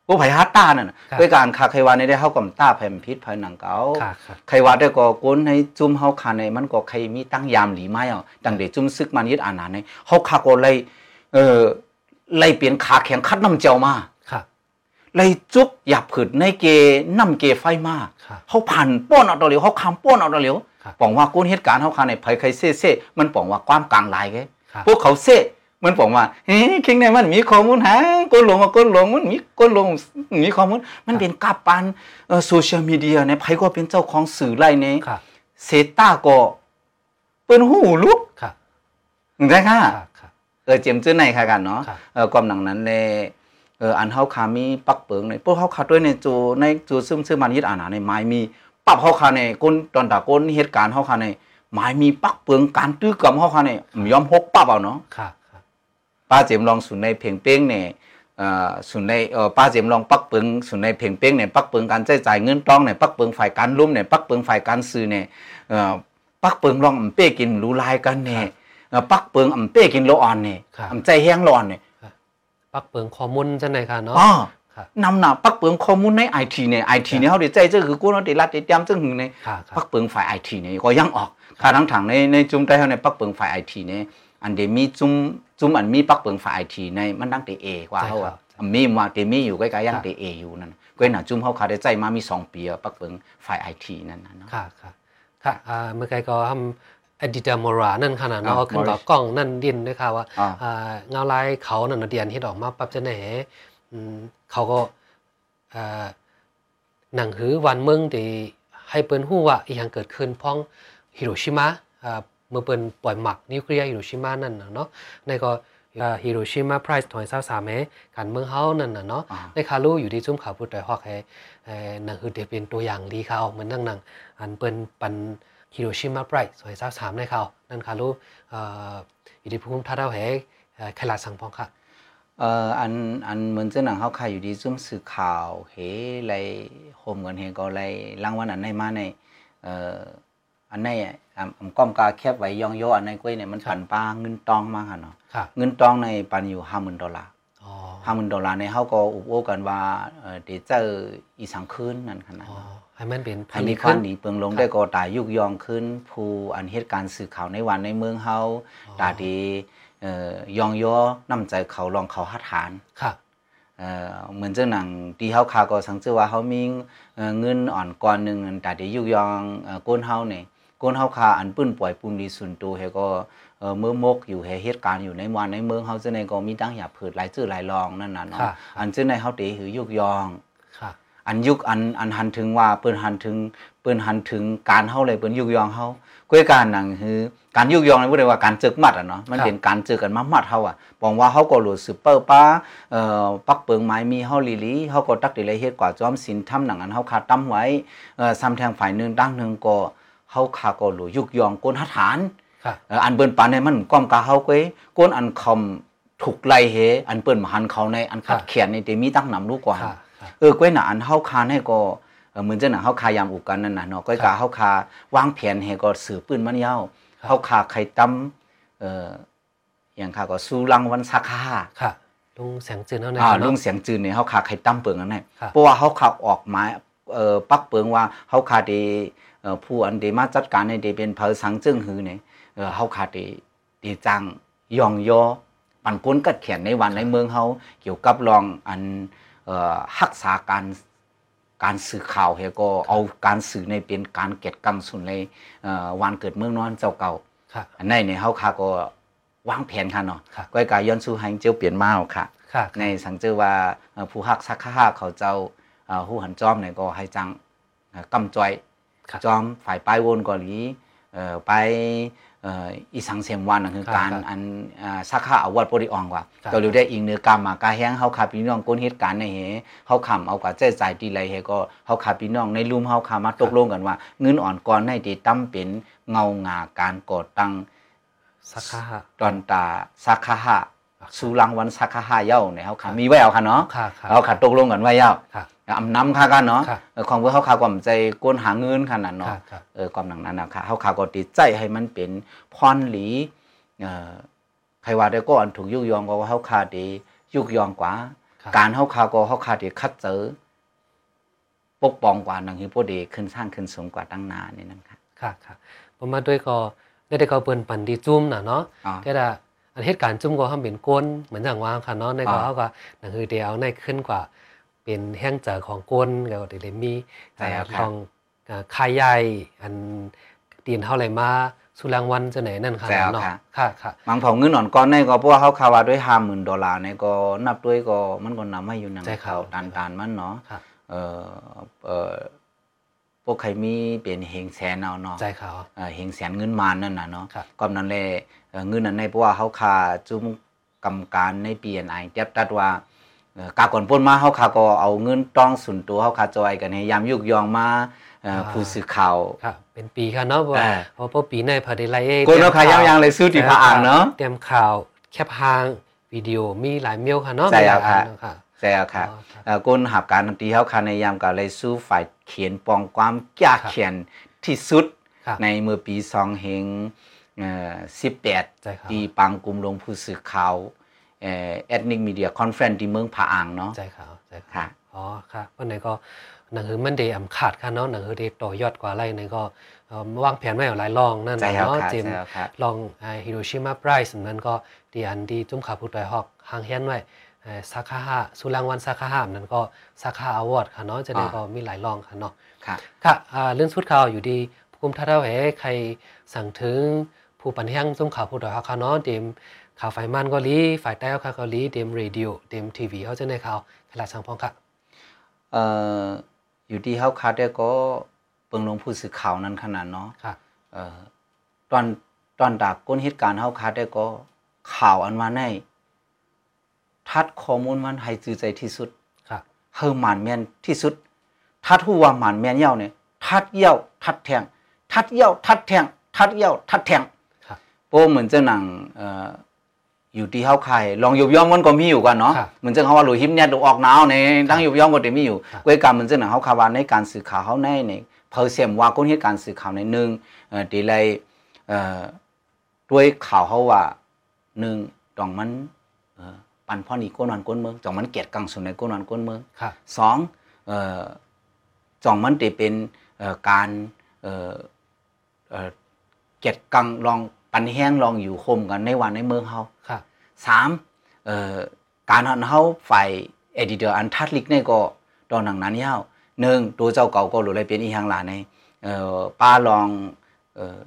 กูไผหาตานั่นน่ะ
ครับ
ด้วยการคาใครว่าในได้เฮากำตาไผมันพิษไผหนังเก่า
ค่ะค่ะ
ใครว่าได้ก็โกนให้จุ่มเฮาคาในมันก็ใครมีตั้งยามหลีไม้เอาตั้งแต่จุ่มซึกมันยึดอานาในเฮาคาก็เลยเอ่อไล่เปลี่ยนขาแข็งคัดน้ำเจียวมา
ค่ะ
เลยจุกหยับผืดในเกน้ำเกไฟมา
ค่ะ
เขาผ่านป้อนเอาตัวเหลียวเขาคำป้อนเอาตัวเหลียว
ครับ
ปองว่าก้นเหตุการณ์เขาคาในไผใครเซ่เซ่มันปองว่าความกลางหลายไง
ค่ะ
พวกเขาเซ่มันปองว่าเฮ้ยคิงในมันมีข้อมูลฮะก้นหลงมาก้นหลงมันมีก้นหลงมีข้อมูลมันเป็นกับปันโซเชียลมีเดียในไผก็เป็นเจ้าของสื่อไล่ใน
ค่ะ
เซต้าก็เป็นหูลุก
ค่ะ
เห็นไหมค่ะ
ค่ะค่ะ
เออเจยมจื้อในค่ะกันเนาะ
ครับ
เอ่อความหนังนั้นเลยเอ่ออันเฮาคามีปักเปิงในพวกเฮาคาด้วยในจูในจูซึมซึมมันยึดอานาในไม้มีปับเฮาคาในก้นตอนตาก้นเหตุการณ์เฮาคาในไม้มีปักเปิงการตื้อกับเฮาคาในไม่ยอมพกปับเอาเนาะ
ค่ะค่ะ
ป้าเจมลองสุนในเพ่งเป้งเนี่ยเอ่อสุนในเอ่อป้าเจมลองปักเปิงสุนในเพ่งเป้งเนี่ยปักเปิงการใช้จ่ายเงินต้องเนี่ยปักเปิงฝ่ายการลุ่มเนี่ยปักเปิงฝ่ายการซื้อเนี่ยเอ่อปักเปิงลองอำเป้กินหรูลายกันเนี่ยเอ่อปักเปิงอำเป้กินโลอ่อนเนี่ย
ครับ
อำใจแห้งร้อนเนี่ย
ปักเปิงคอมมุนจังไหนค่ะเนาะ
อ๋อ
ค่ะ
นำหนาปักเปลืองข้อมูลในไอทีเนี่ยไอทีเนี่ยเขาได้ใจเจ้าคือกู้เนาะได้รัดได้เตรียมเจ้าหึงใน
ค่ะค่ะ
ปักเปลืองฝ่ายไอทีเนี่ยก็ยังออกค่ะทั้งถังในในจุ่มใต้เขาในปักเปลืองฝ่ายไอทีเนี่ยอันเดมีจุ่มจุ่มอันมีปักเปลืองฝ่ายไอทีในมันตั้งแต่เอกว่า
ใช่
เขา
ครั
อะ
บ
อันมีมาเดมีอยู่ใกล้ๆยัง
ค่ะ
แต่เออยู่นั่นก็หนาจุ่มเขาขาได้ใจมามีสองปีอะปักเปลืองฝ่ายไอทีนั่นนะเนาะ
ค่ะค่ะค่ะอ่าเมื่อไกลก็ทำอดิดามอรานั่นขนาดเนาะ
อ่า
เอาขึ้นต่อ
Morris
กล้องนั่นดินด้วยค่ะว่า
อ่า
อ่าเงาลายเขานั่นนะเดียนเฮ็ดออกมาปั๊บจะไหนอืมเขาก็อ่าหนังหือวันเมืองที่ให้เปิ้นฮู้ว่าอีหยังเกิดขึ้นพ้องฮิโรชิมาอ่าเมื่อเปิ้นปล่อยหมักนิวเคลียร์ฮิโรชิมานั่นน่ะเนาะในก็อ่าฮิโรชิมาไพรส์2023แม้การเมืองเฮานั่นน่ะเนาะ
อ่า
ในคารู้อยู่ที่ซุ้มขาวพุทธดอยฮอกแฮเอ่อหนังคือเดเป็นตัวอย่างดีเขาเหมือนนั่งหนังอันเปิ้นปันฮิโรชิมาไบรท์สวยสาวสามในเขานั่นคารู้เอ่ออยู่ที่ภูมิท่าดาวแฮเอ่อไคลาดสังพองค่ะ
เอ่ออันอันเหมือนเจ้าหนังเขาขายอยู่ดีซุ่มสื่อข่าวเฮไรโฮมเงินเฮก็ไรรางวัลอันไหนมาในเอ่ออันไหนอ่ะอ่ำอ่ำก้อมกาแคบไว้ย่องย่ออันไหนกล้วยเนี่ยมัน
ครับ
ปั่นปลาเงินตองมากค่ะเนาะ
ค่ะ
เงินตองในปันอยู่ห้าหมื่นดอลลาร์
อ๋อ
ห้าหมื่นดอลลาร์ในเขาก็อุบโอกันว่าเอ่อเดี๋ยวเจออีสังคืนนั่นขนาด
อ๋อให้มันเป็น
อันนี้
ดี
ข้อ
ขึ้
หนีเปลืองลง
ครับ
ได้ก็ตายยุกยองขึ้นผู้อันเหตุการณ์สื่อข่าวในวันในเมืองเขา
อ๋อ
ตาดีเอ่อย่องย่อนำใจเขาลองเขาหัดหาน
ค่ะ
เอ่อเหมือนเจ้าหนังที่เฮาคาก็สังเจอว่าเฮามีเอ่อเงินอ่อนก้อนหนึงอันแต่ได้อยู่ยองเอ่อก้นเฮานี่ก้นเฮาคาอันปื้นปล่อยปุ่มดีสุนโตเฮาก็เอ่อมือมกอยู่แห่เหตุการณ์อยู่ในวันในเมืองเฮาเจ้าในก็มีตั้งหยาเผิดหลายชื่อหลายรองนั่นน่ะเนาะ
ค่ะ
อันเจ้าในเฮาเตหือยุกยอง
ค่ะ
อันยุคอันอันหันถึงว่าเปิ้นหันถึงเปิ้นหันถึงการเฮาเลยเปิ้นยุกยองเฮาก้วยการหนังคือการยุกยองในบ่ได้ว่าการจึกมัดอ่ะเนาะมันเป็นการจึกกันมามัดเฮาอ่ะบอกว่าเฮาก็หลุดสืบเปิ้ลป้าเอ่อปักเปิงไม้มีเฮาลีลีเฮาก็ตักติเลยเฮ็ดกว่าจอมศีลทำหนังอันเฮาคาตำไว้เอ่อซ้ำแทงฝ่ายหนึงตั้งหนึงก็เฮาคาก็หลุดยุกยองก้นหัฐาน
ค่ะ
เอ่ออันเปิ้นปานในมันก้อมกาเฮาเก้ยก้นอันคอมถูกไล่เฮอันเปิ้นมาหันเขาในอันขัดแขนในเตมีตั้งนํลูกกว่า
ค่ะค่ะ
เออกล้วยหนาอันเฮาคาให้ก็เอ่อเหมือนเจ้าหนังเฮาคายามอุกันนั่นน่ะเนาะกล้วย
ครั
กา
บ
เฮาคาวางแผนให้ก็สือปืนมันยาว
ครับ
เฮาคาไข่ตํเอ่ออย่างค่ะก็สู้รังวันสาขา
ค่ะลุงแสงจืนเท่านั้น
อ่า
ค่ะ
ลุ
เนาะ
งเสียงจืนเนี่ยเฮาคาไข่ตํเปิงอันนั้น
ครับ
เพราะว่าเฮาคาออกหมายเอ่อปักเปิงว่าเฮาคาไดีเอ่อผู้อันไดีมาจัดการในไดีเป็นเผอสังจึงหือเนี่ยเอ่อเฮาคาไดีดีจังยองยอปันก้นกัดแขนในวันในเมืองเฮาเกี่ยวกับรองอัน เอ่อรักษาการ การสื่อข่าวเฮาก็เอาการสื่อในเป็นการเก็ดกังสุนในเอ่อวันเกิดเมืองนอนเจ้าเก่า
ค่ะ
อันในเนี่ยเฮาค่ะก็วางแผนค่ะเนาะ
ครับ
ก้อยกาย้อนสู่ให้เจ้าเปลี่ยนมาเอาค่ะ
ค่ะ
ในสังเจอว่าเอ่อผู้ฮักสักข้าเขาเจ้าเอ่อผู้หันจอมเนี่ยก็ให้จังเอ่อกำจอย
ครับ
จอมฝ่ายป้ายวนเกาหลีเอ่อไปเอ่ออีสังเสียมวันนั่นคือ
ครับ
การ
ครับ
อันอ่าสักข้าอาวัดปริอองกว่า
ครับ
เกาหลีได้อิงเนื้อกรรมมากาแห้งเฮาขาพี่น้องก้นเหตุการณ์ในเหเฮาขำเอากว่าใจใจดีไรเฮก็เฮาขาพี่น้องในลุมเฮาขามาตกลงกันว่า เงินอ่อนก่อนในติตั้มเป็นเงางาการก่อตั้ง
สักคาหะ
ตอนตาสักคาหะสุรังวันสักคาหะเย้าเนี่ยเฮา
ครั
ขา
บ
มีไว้เอาค่ะเนาะ
ค่ะค่ะ
เราขัดตกลงกันไว้ยาว
ครับ
อำน้ำค่ากันเนาะ
ครับ
เออของเพื่อเขาข่าวความใจกวนหาเงินขนาดเนาะ
ค่ะค่ะ
เออความหนังนั้นนะคะเขาข่าวก็ติดใจให้มันเป็นพรหลีเอ่อใครว่าได้ก็อันถูกยุยงก็ว่าเขาข่าวดียุยงกว่า
ครับ
การเขาข่าวก็เขาข่าวดีคัดเจอปกป้องกว่าหนังฮิปโปเดขึ้นสร้างขึ้นสูงกว่าตั้งนานนี่นะคะ
ค่ะค่ะผมมาด้วยก็ได้ได้ก็เปิ้นปันดีจุ้มน่ะเนาะ
อ๋อ
แต่ละอันเหตุการณ์จุ้มก็ทำเป็นกวนเหมือนอย่างว่าค่ะเนาะในก็
อ่า
เฮาก็หนังคือเดียวในขึ้นกว่า เป็นแห้งเจอของกวนก็ได้ได้มี
ใช่ครับ
อ่าของอ่าคายใหญ่อันตีนเท่าไหร่มาสุรางวันจะไหนนั่นค่ะ
ใช่ครับ
เนาะค่ะค่ะ
บางเผาเงินหนอนก้อนในก็เพราะว่าเขาข่าวว่าด้วยห้าหมื่นดอลลาร์ในก็นับด้วยก็มันก็นำให้อยู่หนังเขาตานตานๆมันเนาะ
ค่ะ
เอ่อเอ่อพวกใครมีเป็นเฮงแสนเอาเนาะ
ใจเขา
เอ่อเฮงแสนเงินมานนั่นน่ะเนาะ
ครับ
ก่อนนั้นแหละเอ่อเงินนั้นในเพราะว่าเขาขาจุ้มกรรมการในเปลี่ยนไอเจ็บตัดว่าเอ่อกาก่อนปล้นมาเขาขาก็เอาเงินต้องสุนตัวเขาขาจอยกันให้ยามยุกยองมาเอ่ออา ผู้สื่อข่าว
ค่ะเป็นปีค่ะเนาะเพราะ
เอ
ว่า
อ
เพราะว่าปีในพอได้ไล่เอ้ย
โกนเอาขายาวยางเลยซื้อติพาอ่างเนาะ
เตรียมข่าวแคปหางวิดีโอมีหลายเมลค่ะเนาะ
ใช่ครับ
มีหลายอันเนาค่ะ
ใช่แล้วค่ะ
อ๋อครับ
เอ่อก้นหับการตีเฮาคาในยามกาเลยสู้ฝ่ายเขียนปองความกล้า
ครับ
เขียนที่สุด
ครับ
ในเมื่อปีสองเฮงสิบแปด
ใช่ครับ
ตีปังกลุ่มลงผู้สื่อข่าวเอ็ดนิกมีเดียคอนเฟรนที่เมืองผาอ่างเนาะ
ใจขาวใจขาว
ค่ะ
อ๋อค่ะวันไหนก็หนังหือมันเดย์อ่ำขาดค่ะเนาะหนังหือเดย์ต่อยอดกว่าไรในก็เอ่อวางแผนไว้หลายรองนั่น
ใจแล้ว
เนาะ
ค่ะ
เจม
ใจแล้วค่ะ
ลองฮิโรชิมาไพรส์นั้นก็ดีอันดีจุ้มขาผู้ต่อยหอกหางแฮนไว้ซาคาฮะสุรางวันซาคาฮะนั้นก็ซาคาอวอร์ดค่ะเนาะจะได้
อ่า
ก็มีหลายรองค่ะเนาะ
ค่ะ
ค่ะอ่าเรื่องสุดข่าวอยู่ดีผู้กุมท่าเท่าแหใครสั่งถึงผู้ปันแห้งส่งข่าวผู้ดอยฮาคาเนาะเดมข่าวฝ่ายมันเกาหลีฝ่ายใต้ฮาคาเกาหลีเดมเรดิโอเดมทีวีเขาจะในข่าวขลาดสังพองค่ะ
เอ่ออยู่ที่เฮาคาได้ก็เปิงลงผู้สื่อข่าวนั้นขนาดเนาะ
ค่ะ
เอ่อตอนตอนดักก้นเหตุการณ์เฮาคาดได้ก็ข่าวอันมาในทัดข้อมูลมันให้จือใจที่สุด
ค่ะ
เฮอหมานแม่นที่สุด ทัดหูว่าหมานแม่นเหย้าเนี่ยทัดเหย้าทัดแทง ทัดเหย้าทัดแทง ทัดเหย้าทัดแทง
ครับ
โป้เหมือนเจ้าหนังเอ่ออยู่ที่เฮาใครลองยุบย่อมมันก็มีอยู่กันเนาะ
ครับ
เหมือนเจ้าเขาว่าหลุยหิมเนี่ยดูออกหนาวในตั้งยุบย่อมก็เต็มมีอยู่
ครับ
กวยกรรมเหมือนเจ้าหนังเฮาคาวานในการสื่อข่าวเฮาในในเพอเสียมว่าก้นเหตุการณ์สื่อข่าวในหนึ่ง เอ่อดีเลยเอ่อด้วยข่าวเขาว่าหนึ่งจองมันเอ่อปันพ่อนีก้นนอนก้นเมืองจองมันเกลียดกังสุนในก้นนอนก้นเมือง
ค่ะ
สองเอ่อจองมันจะเป็นเอ่อการเอ่อเอ่อเกลียดกังลองปันแห้งลองอยู่คมกันในวันในเมืองเฮา
ค่ะ
สามเอ่อการหันเฮาฝ่ายเอดิเตอร์อันทัดลิกเนี่ยก็ดอนหนังนั้นยาวหนึ่งตัวเจ้าเก่าก็หรืออะไรเป็นอีหางหลานในเอ่อป้าลองเอ่อ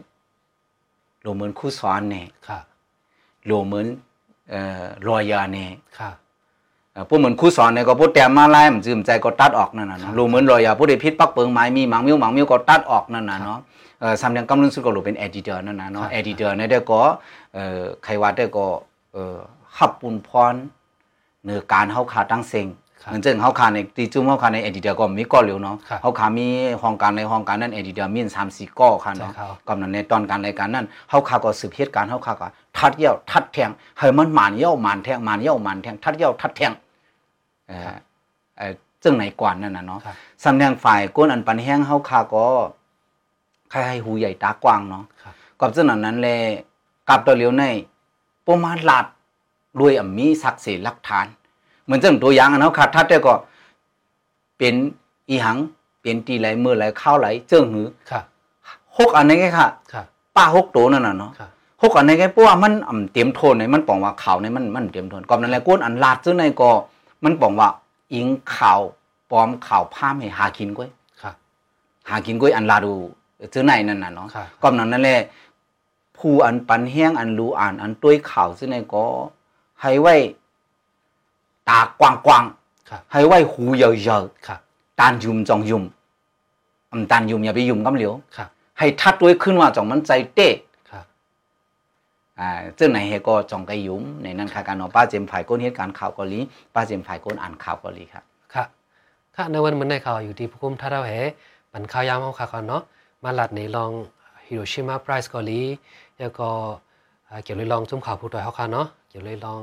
โหลเหมือนคู่สอนเนี่ย
ค่ะ
โหลเหมือนเอ่อรอยยาเนี่ย
ค่ะ
เอ่อพวกเหมือนคู่สอนเนี่ยก็พวกแต้มมาไล่มันจืมใจก็ตัดออกนั่นน่ะ
ครั
เนาะ
บ
โหลเหมือนรอยยาพวกได้พิษปักเปิงไม้มีหมังมิ้วหมังมิ้วก็ตัดออกนั่นน่ะเนาะเอ่อสามเหลี่ยมกำลังสุดก็โหลเป็นเอดิเตอร์นั่นน่ะ
ครั
เนาะ
บ
เอดิเตอร์เนี่ยได้ก็เอ่อใครว่าได้ก็เอ่อขับปุ่นพร เนื้อการเฮาขาตั้งเซ็ง
ค่ะ
เหมือนเจ้งเฮาขาในตีจุ้มเฮาขาในเอดิเดียก็มีก้อเหลวเนาะ
ครับ
เฮาขามีห้องการในห้องการนั้นเอดิเดียมีสามสี่ก้อค่ะเนาะ
ใช่ครับ
กำนันในตอนการรายการนั้นเฮาขาก็สืบเหตุการณ์เฮาขาก็ทัดเยี่ยวทัดแทงให้มันหมานเยี่ยวหมานแทงหมานเยี่ยวหมานแทงทัดเยี่ยวทัดแทงเอ่
ค
อ
รับ
เอ่อเจ้งไหนก่อนนั่นน่ะเนาะ
ครับ
สำแดงฝ่ายก้นอันปันแห้งเฮาขาก็ใครให้หูใหญ่ตากว้างเนาะ
ค่ะ
กับเจ้าหนานั้นเลยกับตัวเหลียวในปมาหลาดรวยอ่ำมีศักดิ์ศรีหลักฐาน เหมือนเจ้าตัวอย่างอันเขาขาดทัดได้ก็เป็นอีหังเป็นตีไหลมือไหลข้าวไหลเจ้าหือ
ค่ะ
หกอันนี้ไงค่ะ
ค่ะ
ป้าหกโตนั่นน่ะเนาะ
ค่ะ
หกอันนี้ไงเพราะว่ามันอ่ำเตรียมโทนในมันปองว่าข่าวในมันมันเตรียมโทนก่อนนั้นแหละก้นอันหลาดเจ้าในก็มันปองว่าอิงข่าว ปลอมข่าวพามให้หากินก้วย
ค่ะ
หากินก้วยอันลาดูเจอไหนนั่นน่ะเนาะ
ค่ะ
ก่อนนั้นนั่นแหละผู้อันปันแห้งอันรู้อ่านอันต้วยข่าวซึ่งในก็ให้ไว้ตากว้าง
ค่ะ
ๆให้ไว้หูยาว
ค่ะ
ๆตานยุมจองยุมอำตานยุมอย่าไปยุมกำเหลียว
ค่ะ
ให้ทัดด้วยขึ้นว่าจองมันใจเต้
ค่ะ
อ่าเจ้าไหนเฮก็จองไกยุมในนั้นค่ะการเนาะป้าเจมฝ่ายก้นเหตุการณ์ข่าวเกาหลีป้าเจมฝ่ายก้นอ่านข่าวเกาหลีครับ
ค่ะค่ะในวันเหมือนในข่าวอยู่ที่ผู้คุมท่าเราแหปันข่าวยามเอาค่ะก่อนเนาะมาหลัดในลองฮิโรชิมาไพรส์เกาหลีแล้วก็อ่าเกี่ยวเลยลองจุ่มข่าวผู้ต่อยเฮาค่ะเนาะเกี่ยวเลยลอง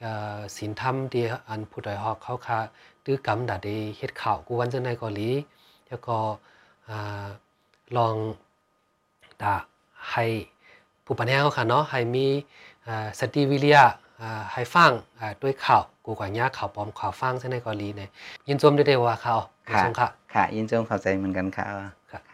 เอ่อศีลธรรมที่อันผู้ต่อยเฮาเขาค่ะตื้อกรรมดาได้เฮ็ดข่าวกูวันจังในเกาหลี แล้วก็อ่าลองดาให้ผู้ปัญญาเขาค่ะเนาะให้มีอ่าสติวิริยะอ่าให้ฟังอ่าด้วยข่าวกูกว่าย่าข่าวปลอมข่าวฟังใช่ในเกาหลีเนี่ยยินชมได้เดว่าข่าว
ค่ะ
ชมค่ะ
ค่ะ ยินดีจงเข้าใจเหมือนกันค่ะ
ครับ
ค่ะ